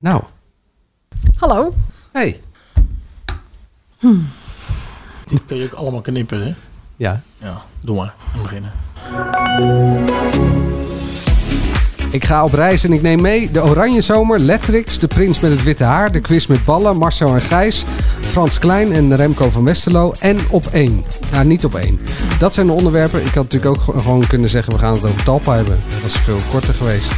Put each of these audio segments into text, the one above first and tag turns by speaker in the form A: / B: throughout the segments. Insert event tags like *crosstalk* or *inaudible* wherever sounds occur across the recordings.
A: Nou,
B: Hallo.
A: hey.
C: Dit kun je ook allemaal knippen, hè?
A: Ja,
C: Ja, doe maar. En beginnen.
A: ik ga op reis en ik neem mee de Oranje Zomer, Lettrix, de Prins met het Witte Haar, de Quiz met Ballen, Marcel en Gijs, Frans Klein en Remco van Westerlo en op één. Nou, niet op één. Dat zijn de onderwerpen. Ik had natuurlijk ook ge- gewoon kunnen zeggen we gaan het over Talpa hebben. Dat was veel korter geweest.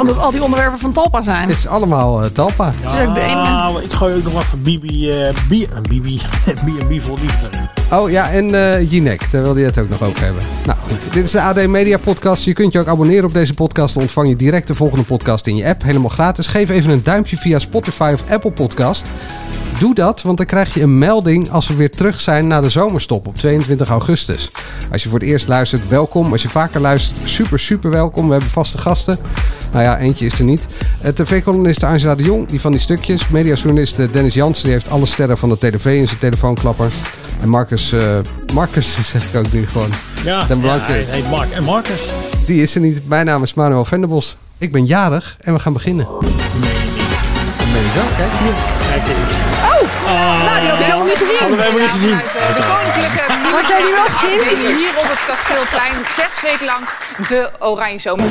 B: Omdat al die onderwerpen van Talpa zijn.
A: Het is allemaal eh, Talpa.
C: Ja,
B: is ook de enige.
C: Ah, maar ik gooi ook nog wat van Bibi... eh Bi- eh, Bibi... *laughs* B&B voor liefde.
A: Oh ja, en eh Jinek, daar wilde je het ook nog over hebben. Nou goed, dit is de AD Media Podcast. Je kunt je ook abonneren op deze podcast. Dan ontvang je direct de volgende podcast in je app. Helemaal gratis. Geef even een duimpje via Spotify of Apple Podcast. Doe dat, want dan krijg je een melding als we weer terug zijn na de zomerstop op 22 augustus. Als je voor het eerst luistert, welkom. Als je vaker luistert, super, super welkom. We hebben vaste gasten. Nou ja, eentje is er niet. Eh, TV-columniste Angela de Jong, die van die stukjes. Mediajournalist eh, Dennis Jansen, die heeft alle sterren van de TV in zijn telefoonklapper. En Marcus, eh, Marcus *laughs* zeg ik ook nu gewoon.
C: Ja,
A: Dan
C: ja,
A: belangrijk.
C: hij heet Mark. En Marcus?
A: Die is er niet. Mijn naam is Manuel Venderbos. Ik ben jarig en we gaan beginnen. Dat meen ik wel, kijk hier.
C: Kijk eens.
D: Nou, die had ik helemaal niet gezien.
C: Hadden wij helemaal niet gezien.
D: Vanuit, eh, de koninklijke Had
B: jij die wel gezien?
D: Hier op het kasteelplein, zes weken lang de Oranje Zomer.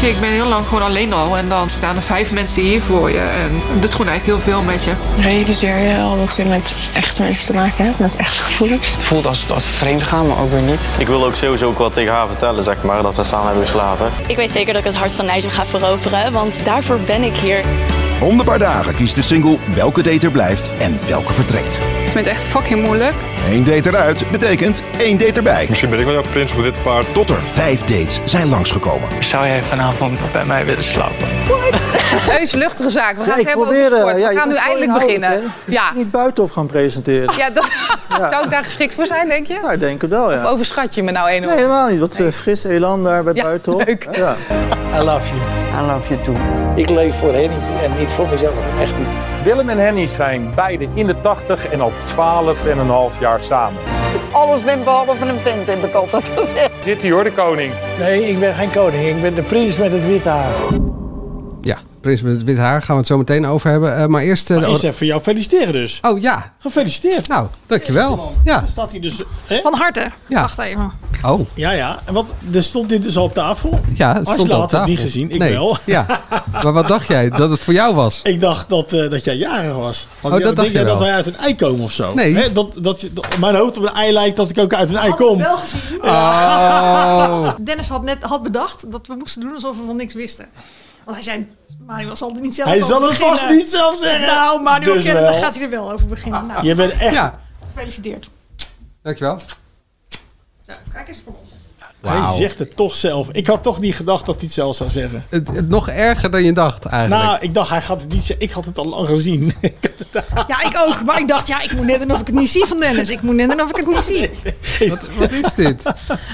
E: Zie, ik ben heel lang gewoon alleen al. En dan staan er vijf mensen hier voor je. En dat doet gewoon eigenlijk heel veel met je.
F: realiseer je dus eh, al dat je met echte mensen te maken hebt, met echte gevoelens.
G: Het voelt als, als vreemd gaan, maar ook weer niet.
H: Ik wil ook sowieso ook wat tegen haar vertellen, zeg maar, dat we samen hebben geslapen.
I: Ik weet zeker dat ik het hart van Nijzen ga veroveren, want daarvoor ben ik hier.
J: Om de paar dagen kiest de single welke date er blijft en welke vertrekt.
E: Ik vind het echt fucking moeilijk.
J: Eén date eruit betekent één date erbij.
H: Misschien ben ik wel jouw prins op dit paard.
J: Tot er vijf dates zijn langsgekomen.
G: Zou jij vanavond bij mij willen slapen?
D: Heus luchtige zaak. We gaan het
H: ik
D: hebben
H: probeer,
D: over sport.
H: eh,
D: We
H: ja, je
D: gaan nu
H: bent zo
D: eindelijk
H: inhoudelijk,
D: beginnen.
H: hè?
D: Ja,
H: Niet buitenop gaan presenteren.
D: ja dat,
H: *laughs*
D: zou ik daar geschikt voor zijn, denk je?
H: Ja, ik denk het wel, ja.
D: Of overschat je me nou enorm?
H: Nee, helemaal niet. Wat eh, fris elan daar bij
D: Ja,
H: buitenop.
D: leuk.
H: Ja.
C: I love you.
K: Ik leef voor hen en niet voor mezelf, echt niet.
G: Willem en Henny zijn beide in de 80 en al 12 en een half jaar samen.
D: Alles bent behalve een vent, heb ik altijd gezegd.
G: Zit hier hoor, de koning.
K: Nee, ik ben geen koning, ik ben de prins met het witte
C: Nou,
K: haar.
A: Ja, Prins met het wit haar gaan we het zo meteen over hebben. Eh, maar eerst... eh, de-
C: Eerst even jou feliciteren dus.
A: oh ja,
C: Gefeliciteerd.
A: nou, dankjewel. Ja,
C: Dan staat hij dus... Hè?
B: Van harte.
A: Ja.
B: Wacht even.
A: oh.
C: Ja, ja. En wat, er stond dit dus al op tafel.
A: Ja, het
C: Angela
A: stond al op
C: had het
A: tafel.
C: niet gezien, ik wel. *laughs*
A: Ja. Maar wat dacht jij? Dat het voor jou was?
C: Ik dacht dat, eh, dat jij jarig was. Want
A: Oh,
C: ja,
A: dat dacht
C: denk
A: je
C: jij
A: wel.
C: dat wij uit een ei komen of zo?
A: Nee.
C: Hè? Dat, dat, je- dat mijn hoofd op een ei lijkt dat ik ook uit een ei kom.
A: Oh.
B: *laughs* Dennis had net had bedacht dat we moesten doen alsof we van niks wisten. Want hij zei, Manuel zal er niet zelf
C: Hij
B: over
C: zal het
B: beginnen.
C: vast niet zelf zeggen.
B: Nou, Manuel
C: Dus
B: dus kennen, dan
C: wel.
B: gaat hij er wel over beginnen. Nou,
C: Je bent echt...
A: Ja,
B: gefeliciteerd.
A: dankjewel.
B: Zo, kijk eens voor ons.
A: Wauw.
C: Hij zegt het toch zelf. Ik had toch niet gedacht dat hij het zelf zou zeggen.
A: Het, het nog erger dan je dacht eigenlijk.
C: Nou, ik dacht, hij gaat het niet zeggen. Ik had het al lang gezien. *laughs*
B: Ja, ik ook. Maar ik dacht, ja, ik moet net doen of ik het niet zie van Dennis. Ik moet net doen of ik het niet zie.
A: Wat is
C: *laughs*
A: dit?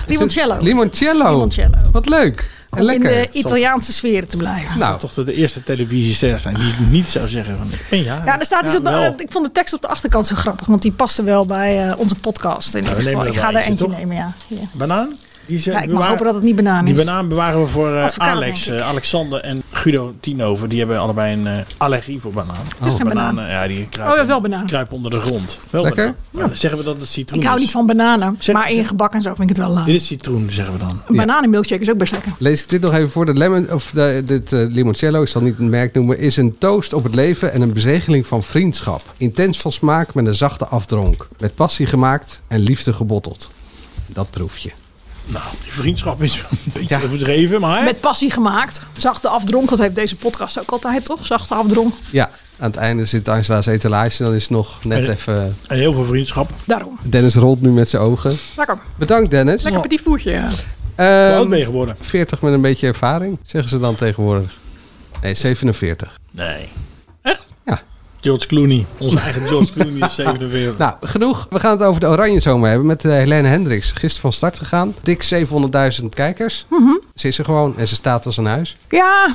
B: Limoncello.
A: Is het- Limoncello.
B: Limoncello.
A: Wat leuk. En
B: Om in
A: lekker.
B: de Italiaanse sfeer te blijven.
A: Nou,
C: toch dat de eerste televisiesters zijn die het niet zou zeggen. Van, ik ben jarig.
B: Ja, er staat dus op de,
C: wel.
B: eh, ik vond de tekst op de achterkant zo grappig, want die paste wel bij eh, onze podcast. In ieder
C: we nemen
B: geval.
C: er
B: Ik
C: wel
B: ga er
C: eentje,
B: eentje
C: toch?
B: nemen, ja. ja.
C: Banaan? Die ze
B: Ja, ik mag
C: bewaren-
B: hopen dat het niet banaan
C: die
B: is.
C: banaan bewaren we voor eh,
B: Advocaat,
C: Alex,
B: denk ik.
C: eh, Alexander en Guido Tienhoven. Die hebben allebei een eh, allergie voor banaan.
B: is geen banaan.
C: Bananen, ja, die
B: Oh,
C: kruipen,
B: ja, wel banaan.
C: kruipen onder de grond. Wel
A: Lekker.
C: banaan. Maar dan zeggen we dat het citroen
B: Ik hou
C: is.
B: niet van bananen,
C: Zeg-
B: maar in
C: zeg-
B: gebak en zo vind ik het wel laag.
C: Dit is citroen, zeggen we dan.
B: Een bananenmilkshake is ook best lekker.
A: lees ik dit nog even voor. De lemon, of de, dit eh, limoncello, ik zal niet het merk noemen, is een toast op het leven en een bezegeling van vriendschap. Intens van smaak met een zachte afdronk. Met passie gemaakt en liefde gebotteld. Dat proef je.
C: Nou, die vriendschap is een beetje
A: Ja.
C: overdreven, maar...
B: Met passie gemaakt. Zachte afdronk, dat heeft deze podcast ook altijd, toch? Zachte afdronk,
A: Ja, aan het einde zit Angela's etalage. Dan is het nog net
C: En-
A: even... eh,
C: En heel veel vriendschap.
B: daarom.
A: Dennis rolt nu met zijn ogen.
C: Oh.
B: Lekker.
A: Bedankt Dennis.
B: Lekker petit voertje.
C: Hoe
A: Ehm,
C: oud ben je geworden?
A: 40 met een beetje ervaring, zeggen ze dan tegenwoordig. Nee, 47.
C: Nee.
A: Ja.
C: George Clooney.
A: *laughs*
C: Onze eigen George Clooney is 47.
A: Nou, genoeg. We gaan het over de Oranje Zomer hebben met eh, Helene Hendricks. Gisteren van start gegaan. Dik 700.000 kijkers.
B: Mhm.
A: Ze is er gewoon en ze staat als een huis.
B: Ja,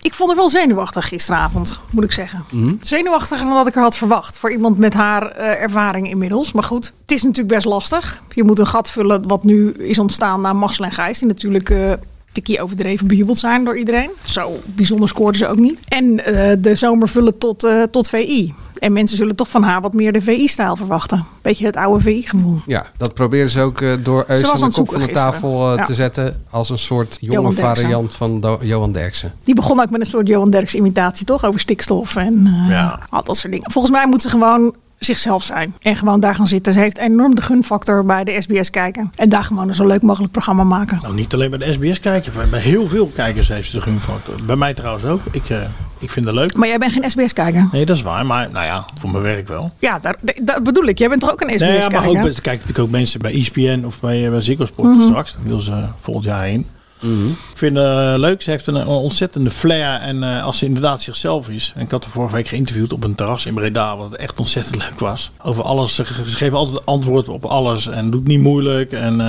B: ik vond haar wel zenuwachtig gisteravond, moet ik zeggen. Zenuwachtiger dan dat ik er had verwacht. Voor iemand met haar eh, ervaring inmiddels. Maar goed, het is natuurlijk best lastig. Je moet een gat vullen wat nu is ontstaan na Marcel en Gijs. Die natuurlijk eh, tikkie overdreven bejubeld zijn door iedereen. Zo bijzonder scoorden ze ook niet. En eh, de zomer vullen tot, eh, tot VI. En mensen zullen toch van haar wat meer de VI-stijl verwachten. Beetje het oude VI-gevoel.
A: Ja, dat proberen ze ook eh, door
B: was
A: Eus
B: aan
A: aan de
B: het
A: kop van de
B: zoeken
A: tafel
B: gisteren.
A: eh,
B: Ja.
A: te zetten. Als een soort jonge
B: Johan Derksen.
A: variant van Do- Johan Derksen.
B: Die begon ook met een soort Johan Derks imitatie, toch? Over stikstof en eh,
C: Ja.
B: al dat soort dingen. Volgens mij moet ze gewoon zichzelf zijn. En gewoon daar gaan zitten. Ze heeft enorm de gunfactor bij de SBS kijken. En daar gewoon een zo leuk mogelijk programma maken.
C: Nou, niet alleen bij de SBS kijken, maar bij heel veel kijkers heeft ze de gunfactor. Bij mij trouwens ook. Ik, eh, ik vind het leuk.
B: Maar jij bent geen SBS-kijker.
C: Nee, dat is waar, maar nou ja, voor mijn werk wel.
B: Ja, daar, d- dat bedoel ik. Jij bent toch ook een
C: Nee, ja,
B: SBS-kijker?
C: maar ook, bij- er kijken natuurlijk ook mensen bij E ESPN of bij, eh, bij Ziggo Sport
B: Mhm.
C: straks. Daar wil ze eh, volgend jaar heen. Ik vind het leuk. Ze heeft een, eh, ontzettende flair. En eh, als ze inderdaad zichzelf is. En ik had haar vorige week geïnterviewd op een terras in Breda. Wat echt ontzettend leuk was. Over alles. Ze, ge- ze geeft altijd antwoord op alles. En doet niet moeilijk. En eh,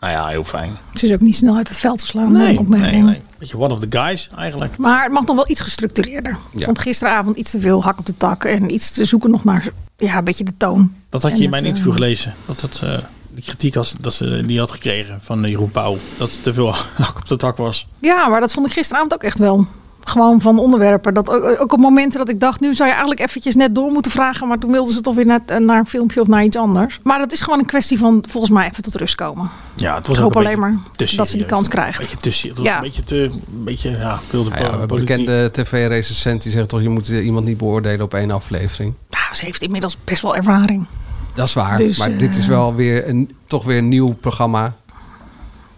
C: nou ja, heel fijn.
B: Ze is ook niet snel uit het veld te slaan.
C: Nee,
B: eh, opmerkingen.
C: nee, nee. Beetje one of the guys eigenlijk.
B: Maar het mag nog wel iets gestructureerder.
A: Ja.
B: Want gisteravond iets te veel hak op de tak. En iets te zoeken nog naar ja, een beetje de toon.
C: Dat had je
B: En
C: in mijn
B: dat, eh,
C: interview gelezen. Dat dat... eh, de kritiek als, dat ze die had gekregen van eh, Jeroen Pauw. Dat het te veel *laughs* hak op de tak was.
B: Ja, maar dat vond ik gisteravond ook echt wel. Gewoon van onderwerpen. Dat ook, ook op momenten dat ik dacht, nu zou je eigenlijk eventjes net door moeten vragen. Maar toen wilden ze toch weer naar, naar een filmpje of naar iets anders. Maar dat is gewoon een kwestie van volgens mij even tot rust komen.
C: Ja, het was
B: Ik
C: ook
B: hoop
C: een
B: alleen
C: beetje
B: maar
C: te
B: dat ze die
C: serieus.
B: kans krijgt.
C: Een beetje te, se- het was
B: Ja.
C: een beetje te, een beetje, ja, wilde
A: Nou ja, we
C: po-
A: hebben
C: politiek.
A: bekende tv-recensent die zegt toch... je moet eh, iemand niet beoordelen op één aflevering.
B: Nou, ze heeft inmiddels best wel ervaring.
A: Dat is waar,
B: Dus,
A: maar
B: eh,
A: dit is wel weer een, toch weer een nieuw programma.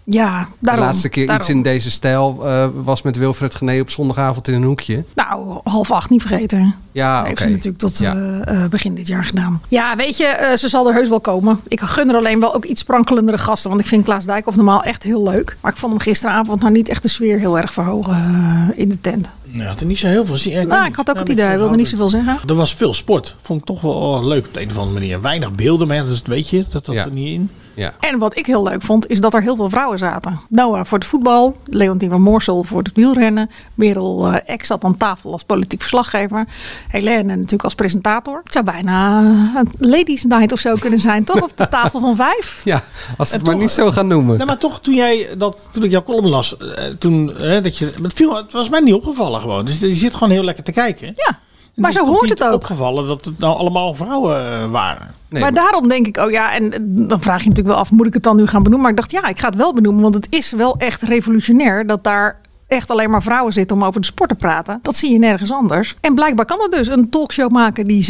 B: Ja, daarom.
A: de laatste keer
B: daarom.
A: iets in deze stijl eh, was met Wilfred Gené op zondagavond in een hoekje.
B: Nou, half acht niet vergeten.
A: Ja,
B: Dat
A: Ah, oké.
B: heeft ze natuurlijk tot
A: Ja.
B: eh, eh, begin dit jaar gedaan. Ja, weet je, eh, ze zal er heus wel komen. Ik gun er alleen wel ook iets sprankelendere gasten. Want ik vind Klaas Dijkhoff normaal echt heel leuk. Maar ik vond hem gisteravond nou niet echt de sfeer heel erg verhogen eh, in de tent.
C: Nee, had er niet zo heel veel zin.
B: Nou, ik had ook het idee, hij wilde niet zoveel zeggen.
C: Er was veel sport. Vond ik toch wel oh, leuk op de een of andere manier. Weinig beelden, maar ja, dat weet je, dat dat
A: Ja.
C: er niet in.
A: ja.
B: En wat ik heel leuk vond, is dat er heel veel vrouwen zaten. Noah voor het voetbal, Leontien van Moorsel voor het wielrennen. Merel eh, Eck zat aan tafel als politiek verslaggever. Helene natuurlijk als presentator. Het zou bijna een ladies night of zo kunnen zijn, toch? Op de tafel van
A: *laughs*
B: vijf.
A: ja, als ze het
C: En
A: maar
C: toch-
A: niet zo gaan noemen.
C: Nou, maar toch, toen jij dat, toen ik jouw column las, eh, toen, eh, dat je, het, viel, het was mij niet opgevallen gewoon. Dus je zit gewoon heel lekker te kijken. Dus
B: Ja,
C: Het
B: maar
C: is
B: zo
C: toch
B: hoort
C: niet
B: het ook.
C: opgevallen dat het nou allemaal vrouwen eh, waren.
A: Nee,
B: maar,
A: maar-
B: daarom denk ik, oh ja, en eh, dan vraag je natuurlijk wel af, moet ik het dan nu gaan benoemen? Maar ik dacht, ja, ik ga het wel benoemen, want het is wel echt revolutionair dat daar echt alleen maar vrouwen zitten om over de sport te praten. Dat zie je nergens anders. En blijkbaar kan dat dus een talkshow maken die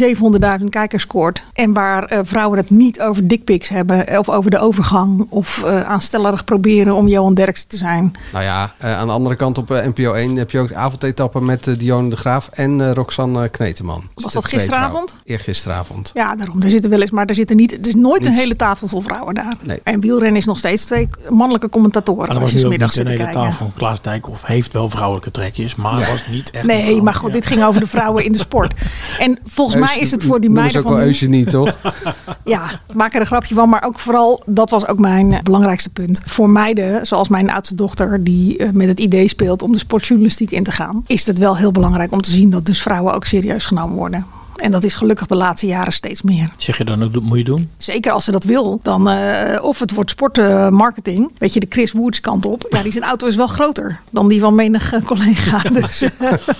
B: 700.000 kijkers scoort en waar eh, vrouwen het niet over dickpics hebben eh, of over de overgang of eh, aanstellerig proberen om Johan Derksen te zijn.
A: Nou ja, eh, aan de andere kant op eh, NPO 1 heb je ook de avondetappen met eh, Dionne de Graaf en eh, Roxanne Kneteman.
B: Was
A: De
B: dat
A: twee
B: gisteravond?
A: vrouwen. Eergisteravond.
B: Ja, daarom. Er zitten wel eens, maar er zitten niet. Er is nooit een
A: Niet-
B: hele tafel vol vrouwen daar.
A: Nee.
B: En wielrennen is nog steeds twee mannelijke commentatoren.
C: Maar dat
B: als
C: was
B: je
C: nu ook
B: smiddags
C: niet een
B: zit te
C: hele
B: kijken.
C: tafel. Klaas Dijkhoff heeft wel vrouwelijke trekjes, maar was niet echt... een
B: Nee,
C: vrouw.
B: maar goed,
C: Ja.
B: dit ging over de vrouwen in de sport. En volgens mij is het voor die
A: Noemen ze
B: meiden
A: ook
B: van...
A: wel
B: nu-
A: Eugenie, toch?
B: *laughs* Ja, maak er een grapje van. Maar ook vooral, dat was ook mijn eh, belangrijkste punt. Voor meiden, zoals mijn oudste dochter... die eh, met het idee speelt om de sportjournalistiek in te gaan... is het wel heel belangrijk om te zien dat dus vrouwen ook serieus genomen worden. En dat is gelukkig de laatste jaren steeds meer.
C: Zeg je dan ook, dat moet je doen?
B: Zeker als ze dat wil. Dan, eh, of het wordt sportmarketing. Weet je, de Chris Woods kant op. Ja, die zijn auto is wel groter dan die van menig eh, collega. *laughs* Dus eh,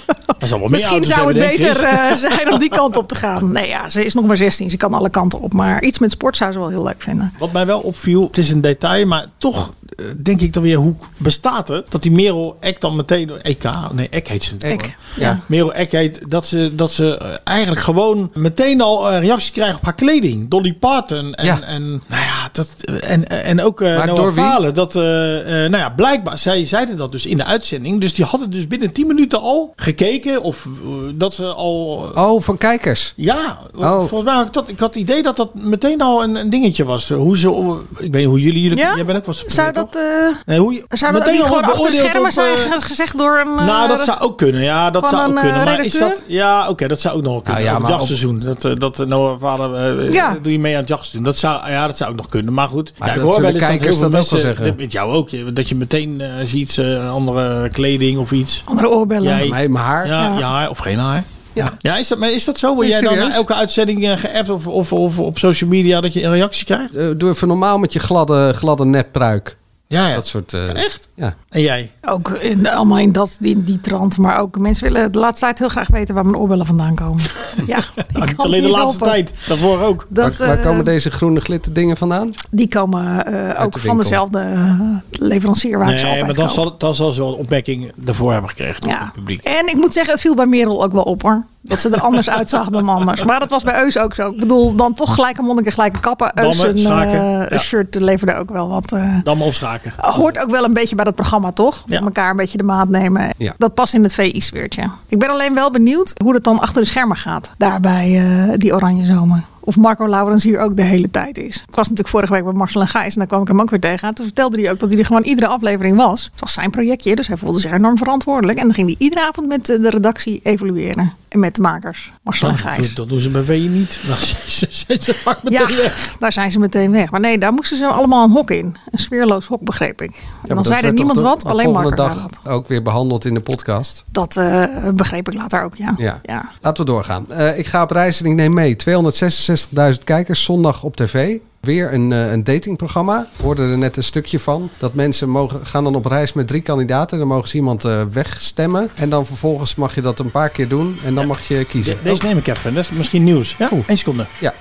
C: *laughs* Dat zal wel meer
B: Misschien
C: auto's
B: zou het
C: hebben, denk ik,
B: beter
C: Chris.
B: eh, zijn om
C: *laughs*
B: die kant op te gaan. Nee, ja, ze is nog maar 16. Ze kan alle kanten op. Maar iets met sport zou ze wel heel leuk vinden.
C: Wat mij wel opviel, het is een detail, maar toch eh, denk ik dan weer hoe bestaat het dat die Merel Ek dan meteen door EK, nee Ek heet ze.
A: Ek.
B: Ik.
A: Ja.
C: Merel Ek heet dat ze, dat ze eh, eigenlijk gewoon meteen al eh, reacties krijgen op haar kleding. Dolly Parton en,
A: Ja.
C: en nou ja, dat, en, en ook eh
A: Maar
C: Noah
A: door wie?
C: Falen, Dat, eh, eh, nou ja, blijkbaar, zij zeiden dat dus in de uitzending. Dus die hadden dus binnen 10 minuten al gekeken of eh, dat ze al...
A: Oh, van kijkers.
C: Ja,
A: Oh.
C: volgens mij had ik dat. Ik had het idee dat dat meteen al een, een dingetje was. Hoe ze, ik weet niet hoe jullie jullie.
B: Ja?
C: Jij bent ook wel eens
B: Zou
C: geprobeerd,
B: dat,
C: toch?
B: eh
C: Nee, hoe je,
B: zou dat ook niet
C: meteen al
B: gewoon
C: wordt
B: achter de
C: beoordeeld
B: schermen zijn
C: op, eh,
B: ge- gezegd door een... eh,
C: *laughs* nou, dat zou ook kunnen. Ja,
B: van
C: dat zou ook
B: een, eh,
C: kunnen. Maar is dat,
B: redacteur?
C: ja, oké, dat zou ook nog wel kunnen.
A: Nou ja,
C: Ook
A: maar
C: het jachtseizoen. Dat, eh, dat eh, Noah vader, eh,
B: Ja.
C: doe je mee aan het jachtseizoen. Dat zou, ja, dat zou ook nog kunnen. Maar goed,
A: Maar
C: ja,
A: dat zullen kijkers dat ook wel zeggen.
C: dit- met jou ook, je- dat je meteen eh, ziet eh, andere kleding of iets.
B: Andere oorbellen.
C: Jij-
A: Mij, mijn haar.
C: Ja,
B: Ja.
C: ja. haar of geen haar.
A: Ja.
C: Ja, is, dat, maar is dat zo? Word
A: Nee,
C: jij dan
A: serieus?
C: na elke uitzending eh, geappt of, of, of op social media dat je een reactie krijgt?
A: Eh, doe even normaal met je gladde, gladde neppruik.
C: Ja, ja.
A: Dat soort... eh,
C: Echt?
A: Ja.
C: En jij?
B: Ook in, allemaal in, dat, in die trant. Maar ook mensen willen de laatste tijd heel graag weten waar mijn oorbellen vandaan
C: *laughs*
B: komen. ja, ik
C: Nou, niet
B: kan
C: alleen de
B: niet
C: laatste
B: helpen.
C: tijd. Daarvoor ook.
B: Dat,
A: waar, waar
B: eh,
A: komen deze groene glitterdingen vandaan?
B: Die komen eh, ook
A: de
B: van
A: winkel.
B: dezelfde eh, leverancier waar ze
C: Nee,
B: altijd
C: maar dan
B: kopen.
C: zal, dan zal ze wel een opbekking daarvoor hebben gekregen. Ja.
B: Ja.
C: Het publiek.
B: En ik moet zeggen, het viel bij Merel ook wel op hoor. Dat ze er
C: *laughs*
B: anders uitzag dan anders. Maar dat was bij Eus ook zo. Ik bedoel, dan toch gelijke monniken, gelijke kappen. Eus
C: Dammen,
B: een
C: schaken,
B: eh,
C: ja.
B: shirt leverde ook wel wat. eh,
C: Dan maar opschaken.
B: hoort ook wel een beetje bij dat programma, toch?
C: Ja.
B: Elkaar een beetje de maat nemen.
A: Ja.
B: Dat past in het VI-sfeertje. Ik ben alleen wel benieuwd hoe dat dan achter de schermen gaat. Daarbij eh, die oranje zomer. Of Marco Laurens hier ook de hele tijd is. Ik was natuurlijk vorige week bij Marcel en Gijs en daar kwam ik hem ook weer tegen. En toen vertelde hij ook dat hij er gewoon iedere aflevering was. Het was zijn projectje, dus hij voelde zich enorm verantwoordelijk. En dan ging hij iedere avond met eh, de redactie evalueren. En met de makers, Marcel en
C: Nou, dat,
B: Gijs.
C: doen- dat doen ze bij WE niet. *laughs* Dan zijn ze vaak meteen
B: Ja,
C: weg.
B: daar zijn ze meteen weg. Maar nee, daar moesten ze allemaal een hok in. Een sfeerloos hok, begreep ik. En
A: maar
B: dan
A: dat
B: zei er
A: werd toch
B: niemand
A: de-
B: wat,
A: de
B: alleen
A: volgende
B: Marco
A: dag
B: dat.
A: ook weer behandeld in de podcast.
B: Dat eh, begreep ik later ook, ja.
A: Ja. Laten we doorgaan. Eh, ik ga op reis en ik neem mee 266.000 kijkers zondag op tv. Weer een, eh, een datingprogramma. We hoorden er net een stukje van. Dat mensen mogen, gaan dan op reis met drie kandidaten. Dan mogen ze iemand eh, wegstemmen. En dan vervolgens mag je dat een paar keer doen. En dan mag je kiezen.
C: De- Deze
A: Oh,
C: neem ik even. Dat is misschien nieuws. Ja,
A: Oeh.
C: één seconde.
A: ja.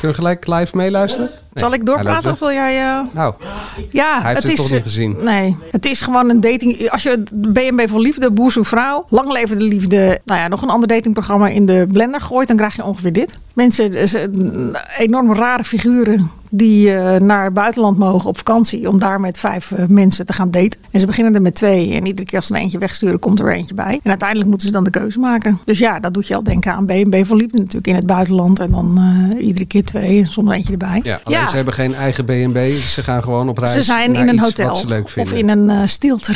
A: Kunnen we gelijk live meeluisteren?
B: Zal ik
A: hij loopt
B: doorpraten
A: weg.
B: of wil jij... eh,
A: Nou,
B: Ja,
A: Hij heeft
B: het
A: het
B: is, eh,
A: toch niet gezien?
B: Nee, het is gewoon een dating... Als je het BNB voor Liefde, Boer zoekt Vrouw, Lang Leven de Liefde... Nou ja, nog een ander datingprogramma in de blender gooit... dan krijg je ongeveer dit. Mensen, eh, ze- enorm rare figuren die eh, naar het buitenland mogen op vakantie... om daar met vijf eh, mensen te gaan daten. En ze beginnen er met twee. En iedere keer als ze er eentje wegsturen, komt er weer eentje bij. En uiteindelijk moeten ze dan de keuze maken. Dus ja, dat doet je al denken aan BNB voor Liefde natuurlijk in het buitenland. En dan eh, iedere keer twee en soms eentje erbij.
A: ja, alleen ze hebben geen eigen B&B. Ze gaan gewoon op reis
B: Ze zijn
A: naar
B: in een
A: iets
B: hotel
A: wat ze leuk
B: of
A: vinden.
B: in een eh stilte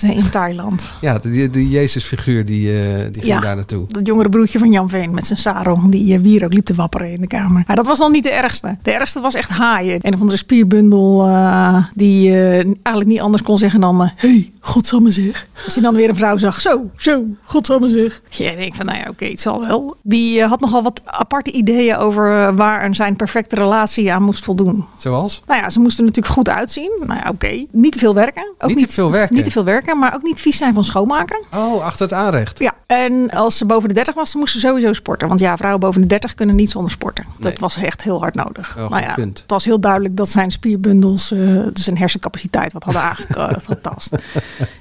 B: in Thailand.
A: Ja, die, die Jezus-figuur die, eh, die ging
B: Ja.
A: daar naartoe.
B: Dat jongere broertje van Jan Veen met zijn sarong die eh, wierook liep te wapperen in de kamer. Maar dat was nog niet de ergste. De ergste was echt haaien. Een of andere spierbundel eh, die eh, eigenlijk niet anders kon zeggen dan... eh, hey, godsamme zeg. Als hij dan weer een vrouw zag. Zo, zo, godsamme zeg. Ja, ik denk van, nou ja, oké, het zal wel. Die eh, had nogal wat aparte ideeën over eh, waar een zijn perfecte relatie aan moest voldoen.
A: Zoals?
B: Nou ja, ze moesten er natuurlijk goed uitzien. Nou ja, oké. Niet te veel werken. Ook
A: Niet te veel werken.
B: Niet te veel werken, maar ook niet vies zijn van schoonmaken.
A: Oh, achter het aanrecht.
B: Ja, en als ze boven de 30 was, dan moest ze sowieso sporten. Want ja, vrouwen boven de 30 kunnen niet zonder sporten.
A: Nee.
B: Dat was echt heel hard nodig.
A: Wel
B: nou
A: goed
B: ja,
A: punt.
B: het was heel duidelijk dat zijn spierbundels, eh, dus zijn hersencapaciteit, wat hadden *laughs* aangetast.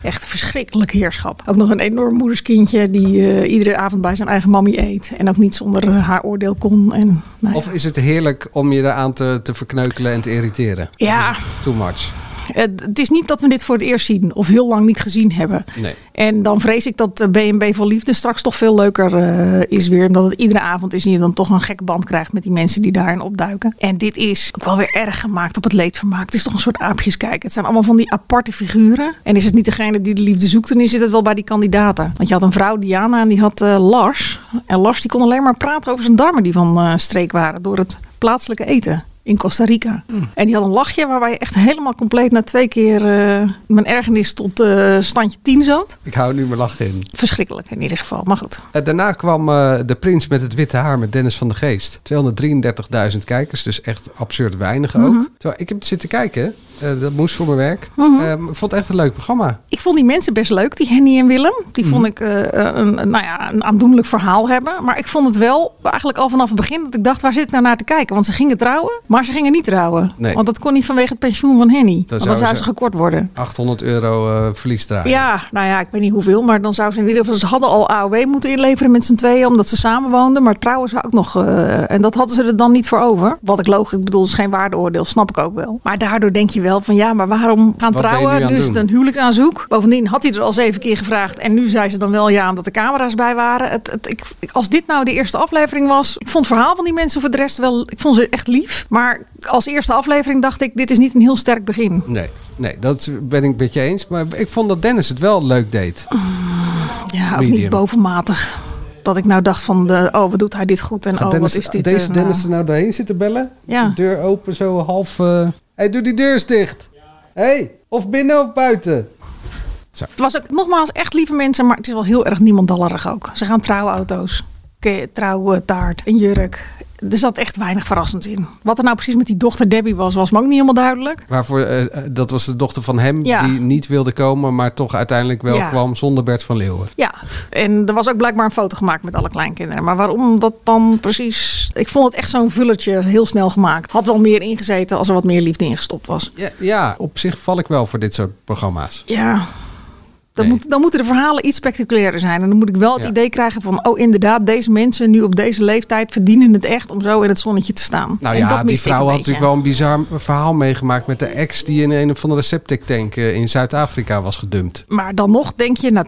B: echt een verschrikkelijk heerschap. Ook nog een enorm moederskindje die eh, iedere avond bij zijn eigen mammy eet. En ook niet zonder eh, haar oordeel kon. En, nou ja.
A: Of is het heerlijk om je eraan te, te verkneukelen en te irriteren?
B: Ja.
A: Of is het Too much.
B: Het, Eh, het is niet dat we dit voor het eerst zien of heel lang niet gezien hebben.
A: Nee.
B: En dan vrees ik dat eh, BNB voor Liefde straks toch veel leuker eh, is weer. Omdat het iedere avond is en je dan toch een gekke band krijgt met die mensen die daarin opduiken. En dit is ook wel weer erg gemaakt op het leedvermaak. Het is toch een soort aapjes kijken. Het zijn allemaal van die aparte figuren. En is het niet degene die de liefde zoekt, dan zit het wel bij die kandidaten. Want je had een vrouw, Diana, en die had eh, Lars. En Lars die kon alleen maar praten over zijn darmen die van eh, streek waren door het plaatselijke eten in Costa Rica. En die had een lachje waarbij je echt helemaal compleet na twee keer eh, mijn ergernis tot eh, standje 10 zat.
A: Ik hou nu mijn lach in.
B: Verschrikkelijk in ieder geval, maar goed.
A: Eh, daarna kwam eh, De Prins met het Witte Haar met Dennis van de Geest. 233.000 kijkers, dus echt absurd weinig ook. Terwijl ik heb zitten kijken, eh, dat moest voor mijn werk. Eh, maar ik vond het echt een leuk programma.
B: Ik vond die mensen best leuk, die Henny en Willem. Die vond ik eh, een, een- nou ja, een aandoenlijk verhaal hebben. Maar ik vond het wel eigenlijk al vanaf het begin dat ik dacht, waar zit ik nou naar te kijken? Want ze gingen trouwen, maar ze gingen niet trouwen.
A: Nee.
B: Want dat kon niet vanwege het pensioen van Henny. Want
A: zou
B: dan zou
A: ze-
B: ze gekort worden.
A: 800 euro eh, verlies draaien.
B: Ja, nou ja, ik weet niet hoeveel, maar dan zou ze in ieder geval... Ze hadden al AOW moeten inleveren met z'n tweeën, omdat ze samen woonden. Maar trouwens ook nog... eh, en dat hadden ze er dan niet voor over. Wat ik logisch, ik bedoel, het is geen waardeoordeel, snap ik ook wel. Maar daardoor denk je wel van, ja, maar waarom gaan
A: Wat ben je nu aan
B: trouwen?
A: het
B: Nu is
A: doen?
B: het een huwelijk aan zoek. Bovendien had hij er al zeven keer gevraagd. En nu zei ze dan wel ja, omdat de camera's bij waren. Het, het, ik, ik- als dit nou de eerste aflevering was... Ik vond het verhaal van die mensen voor de rest wel... Ik vond ze echt lief. Maar als eerste aflevering dacht ik, dit is niet een heel sterk begin.
A: Nee, nee, dat ben ik met je eens. Maar ik vond dat Dennis het wel leuk deed.
B: Ja, ook
A: Medium.
B: niet bovenmatig. Dat ik nou dacht van, de, oh, wat doet hij dit goed en
A: Gaat
B: oh,
A: Ah, Dennis-
B: wat is dit?
A: Deze
B: en,
A: Dennis
B: eh,
A: er nou doorheen zitten bellen?
B: Ja.
A: De deur open, zo half... eh hey, doe die deur eens dicht. hey, of binnen of buiten.
B: het was ook nogmaals echt lieve mensen, maar het is wel heel erg niemandallerig ook. Ze gaan trouwauto's. ke- trouwtaart, een jurk. Er zat echt weinig verrassends in. Wat er nou precies met die dochter Debbie was, was me ook niet helemaal duidelijk.
A: Waarvoor, eh, dat was de dochter van hem
B: Ja.
A: die niet wilde komen, maar toch uiteindelijk wel
B: Ja.
A: kwam zonder Bert van Leeuwen.
B: Ja, en er was ook blijkbaar een foto gemaakt met alle kleinkinderen. Maar waarom dat dan precies... Ik vond het echt zo'n vulletje heel snel gemaakt. Had wel meer ingezeten als er wat meer liefde ingestopt was.
A: Ja, ja, op zich val ik wel voor dit soort programma's.
B: Ja. Dan,
A: Nee.
B: moet, dan moeten de verhalen iets spectaculairder zijn. En dan moet ik wel het
A: Ja.
B: idee krijgen van... oh, inderdaad, deze mensen nu op deze leeftijd verdienen het echt... om zo in het zonnetje te staan.
A: Nou
B: En dat
A: ja, die
B: miste ik
A: vrouw
B: een
A: had
B: beetje.
A: natuurlijk wel een bizar verhaal meegemaakt met de ex die in een of andere septic tank eh, in Zuid-Afrika was gedumpt.
B: Maar dan nog denk je, na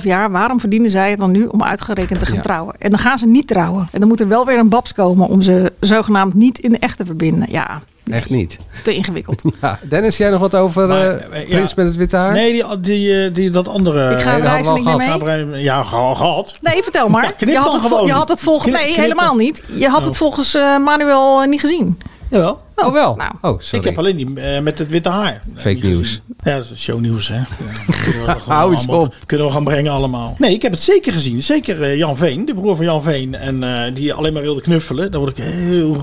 B: 12,5 jaar... waarom verdienen zij het dan nu om uitgerekend te gaan
A: Ja.
B: trouwen? En dan gaan ze niet trouwen. En dan moet er wel weer een babs komen... om ze zogenaamd niet in de echt te verbinden. Ja,
A: Echt niet. *laughs*
B: te ingewikkeld.
A: Ja, Dennis, jij nog wat over
C: Maar,
A: eh,
C: eh, ja.
A: Prins met het witte haar?
C: Nee, die, die, eh, die, dat andere...
B: Ik ga
A: nee, dat hadden we al
B: reiziging
A: gehad.
B: mee.
C: Abraham- Ja, ge- gehad.
B: Nee, vertel maar.
C: Ja, knip
B: je, had
C: dan
B: het, vol-
C: gewoon.
B: je had het volgens...
C: Knip-
B: Nee,
C: knip
B: helemaal
C: dan.
B: niet. Je had het
C: Oh.
B: volgens eh, Manuel eh, niet gezien.
C: Jawel.
A: Oh wel?
B: Nou,
A: oh, sorry.
C: Ik heb alleen die eh, met het witte haar.
A: Fake
C: Niet gezien.
A: nieuws.
C: Ja, dat is shownieuws, hè. Ja,
A: *laughs*
C: kunnen we dat gewoon
A: Hou eens
C: allemaal-
A: op.
C: Kunnen we gaan brengen allemaal. Nee, ik heb het zeker gezien. Zeker eh, Jan Veen, de broer van Jan Veen. En eh, die alleen maar wilde knuffelen. Daar word ik heel *laughs*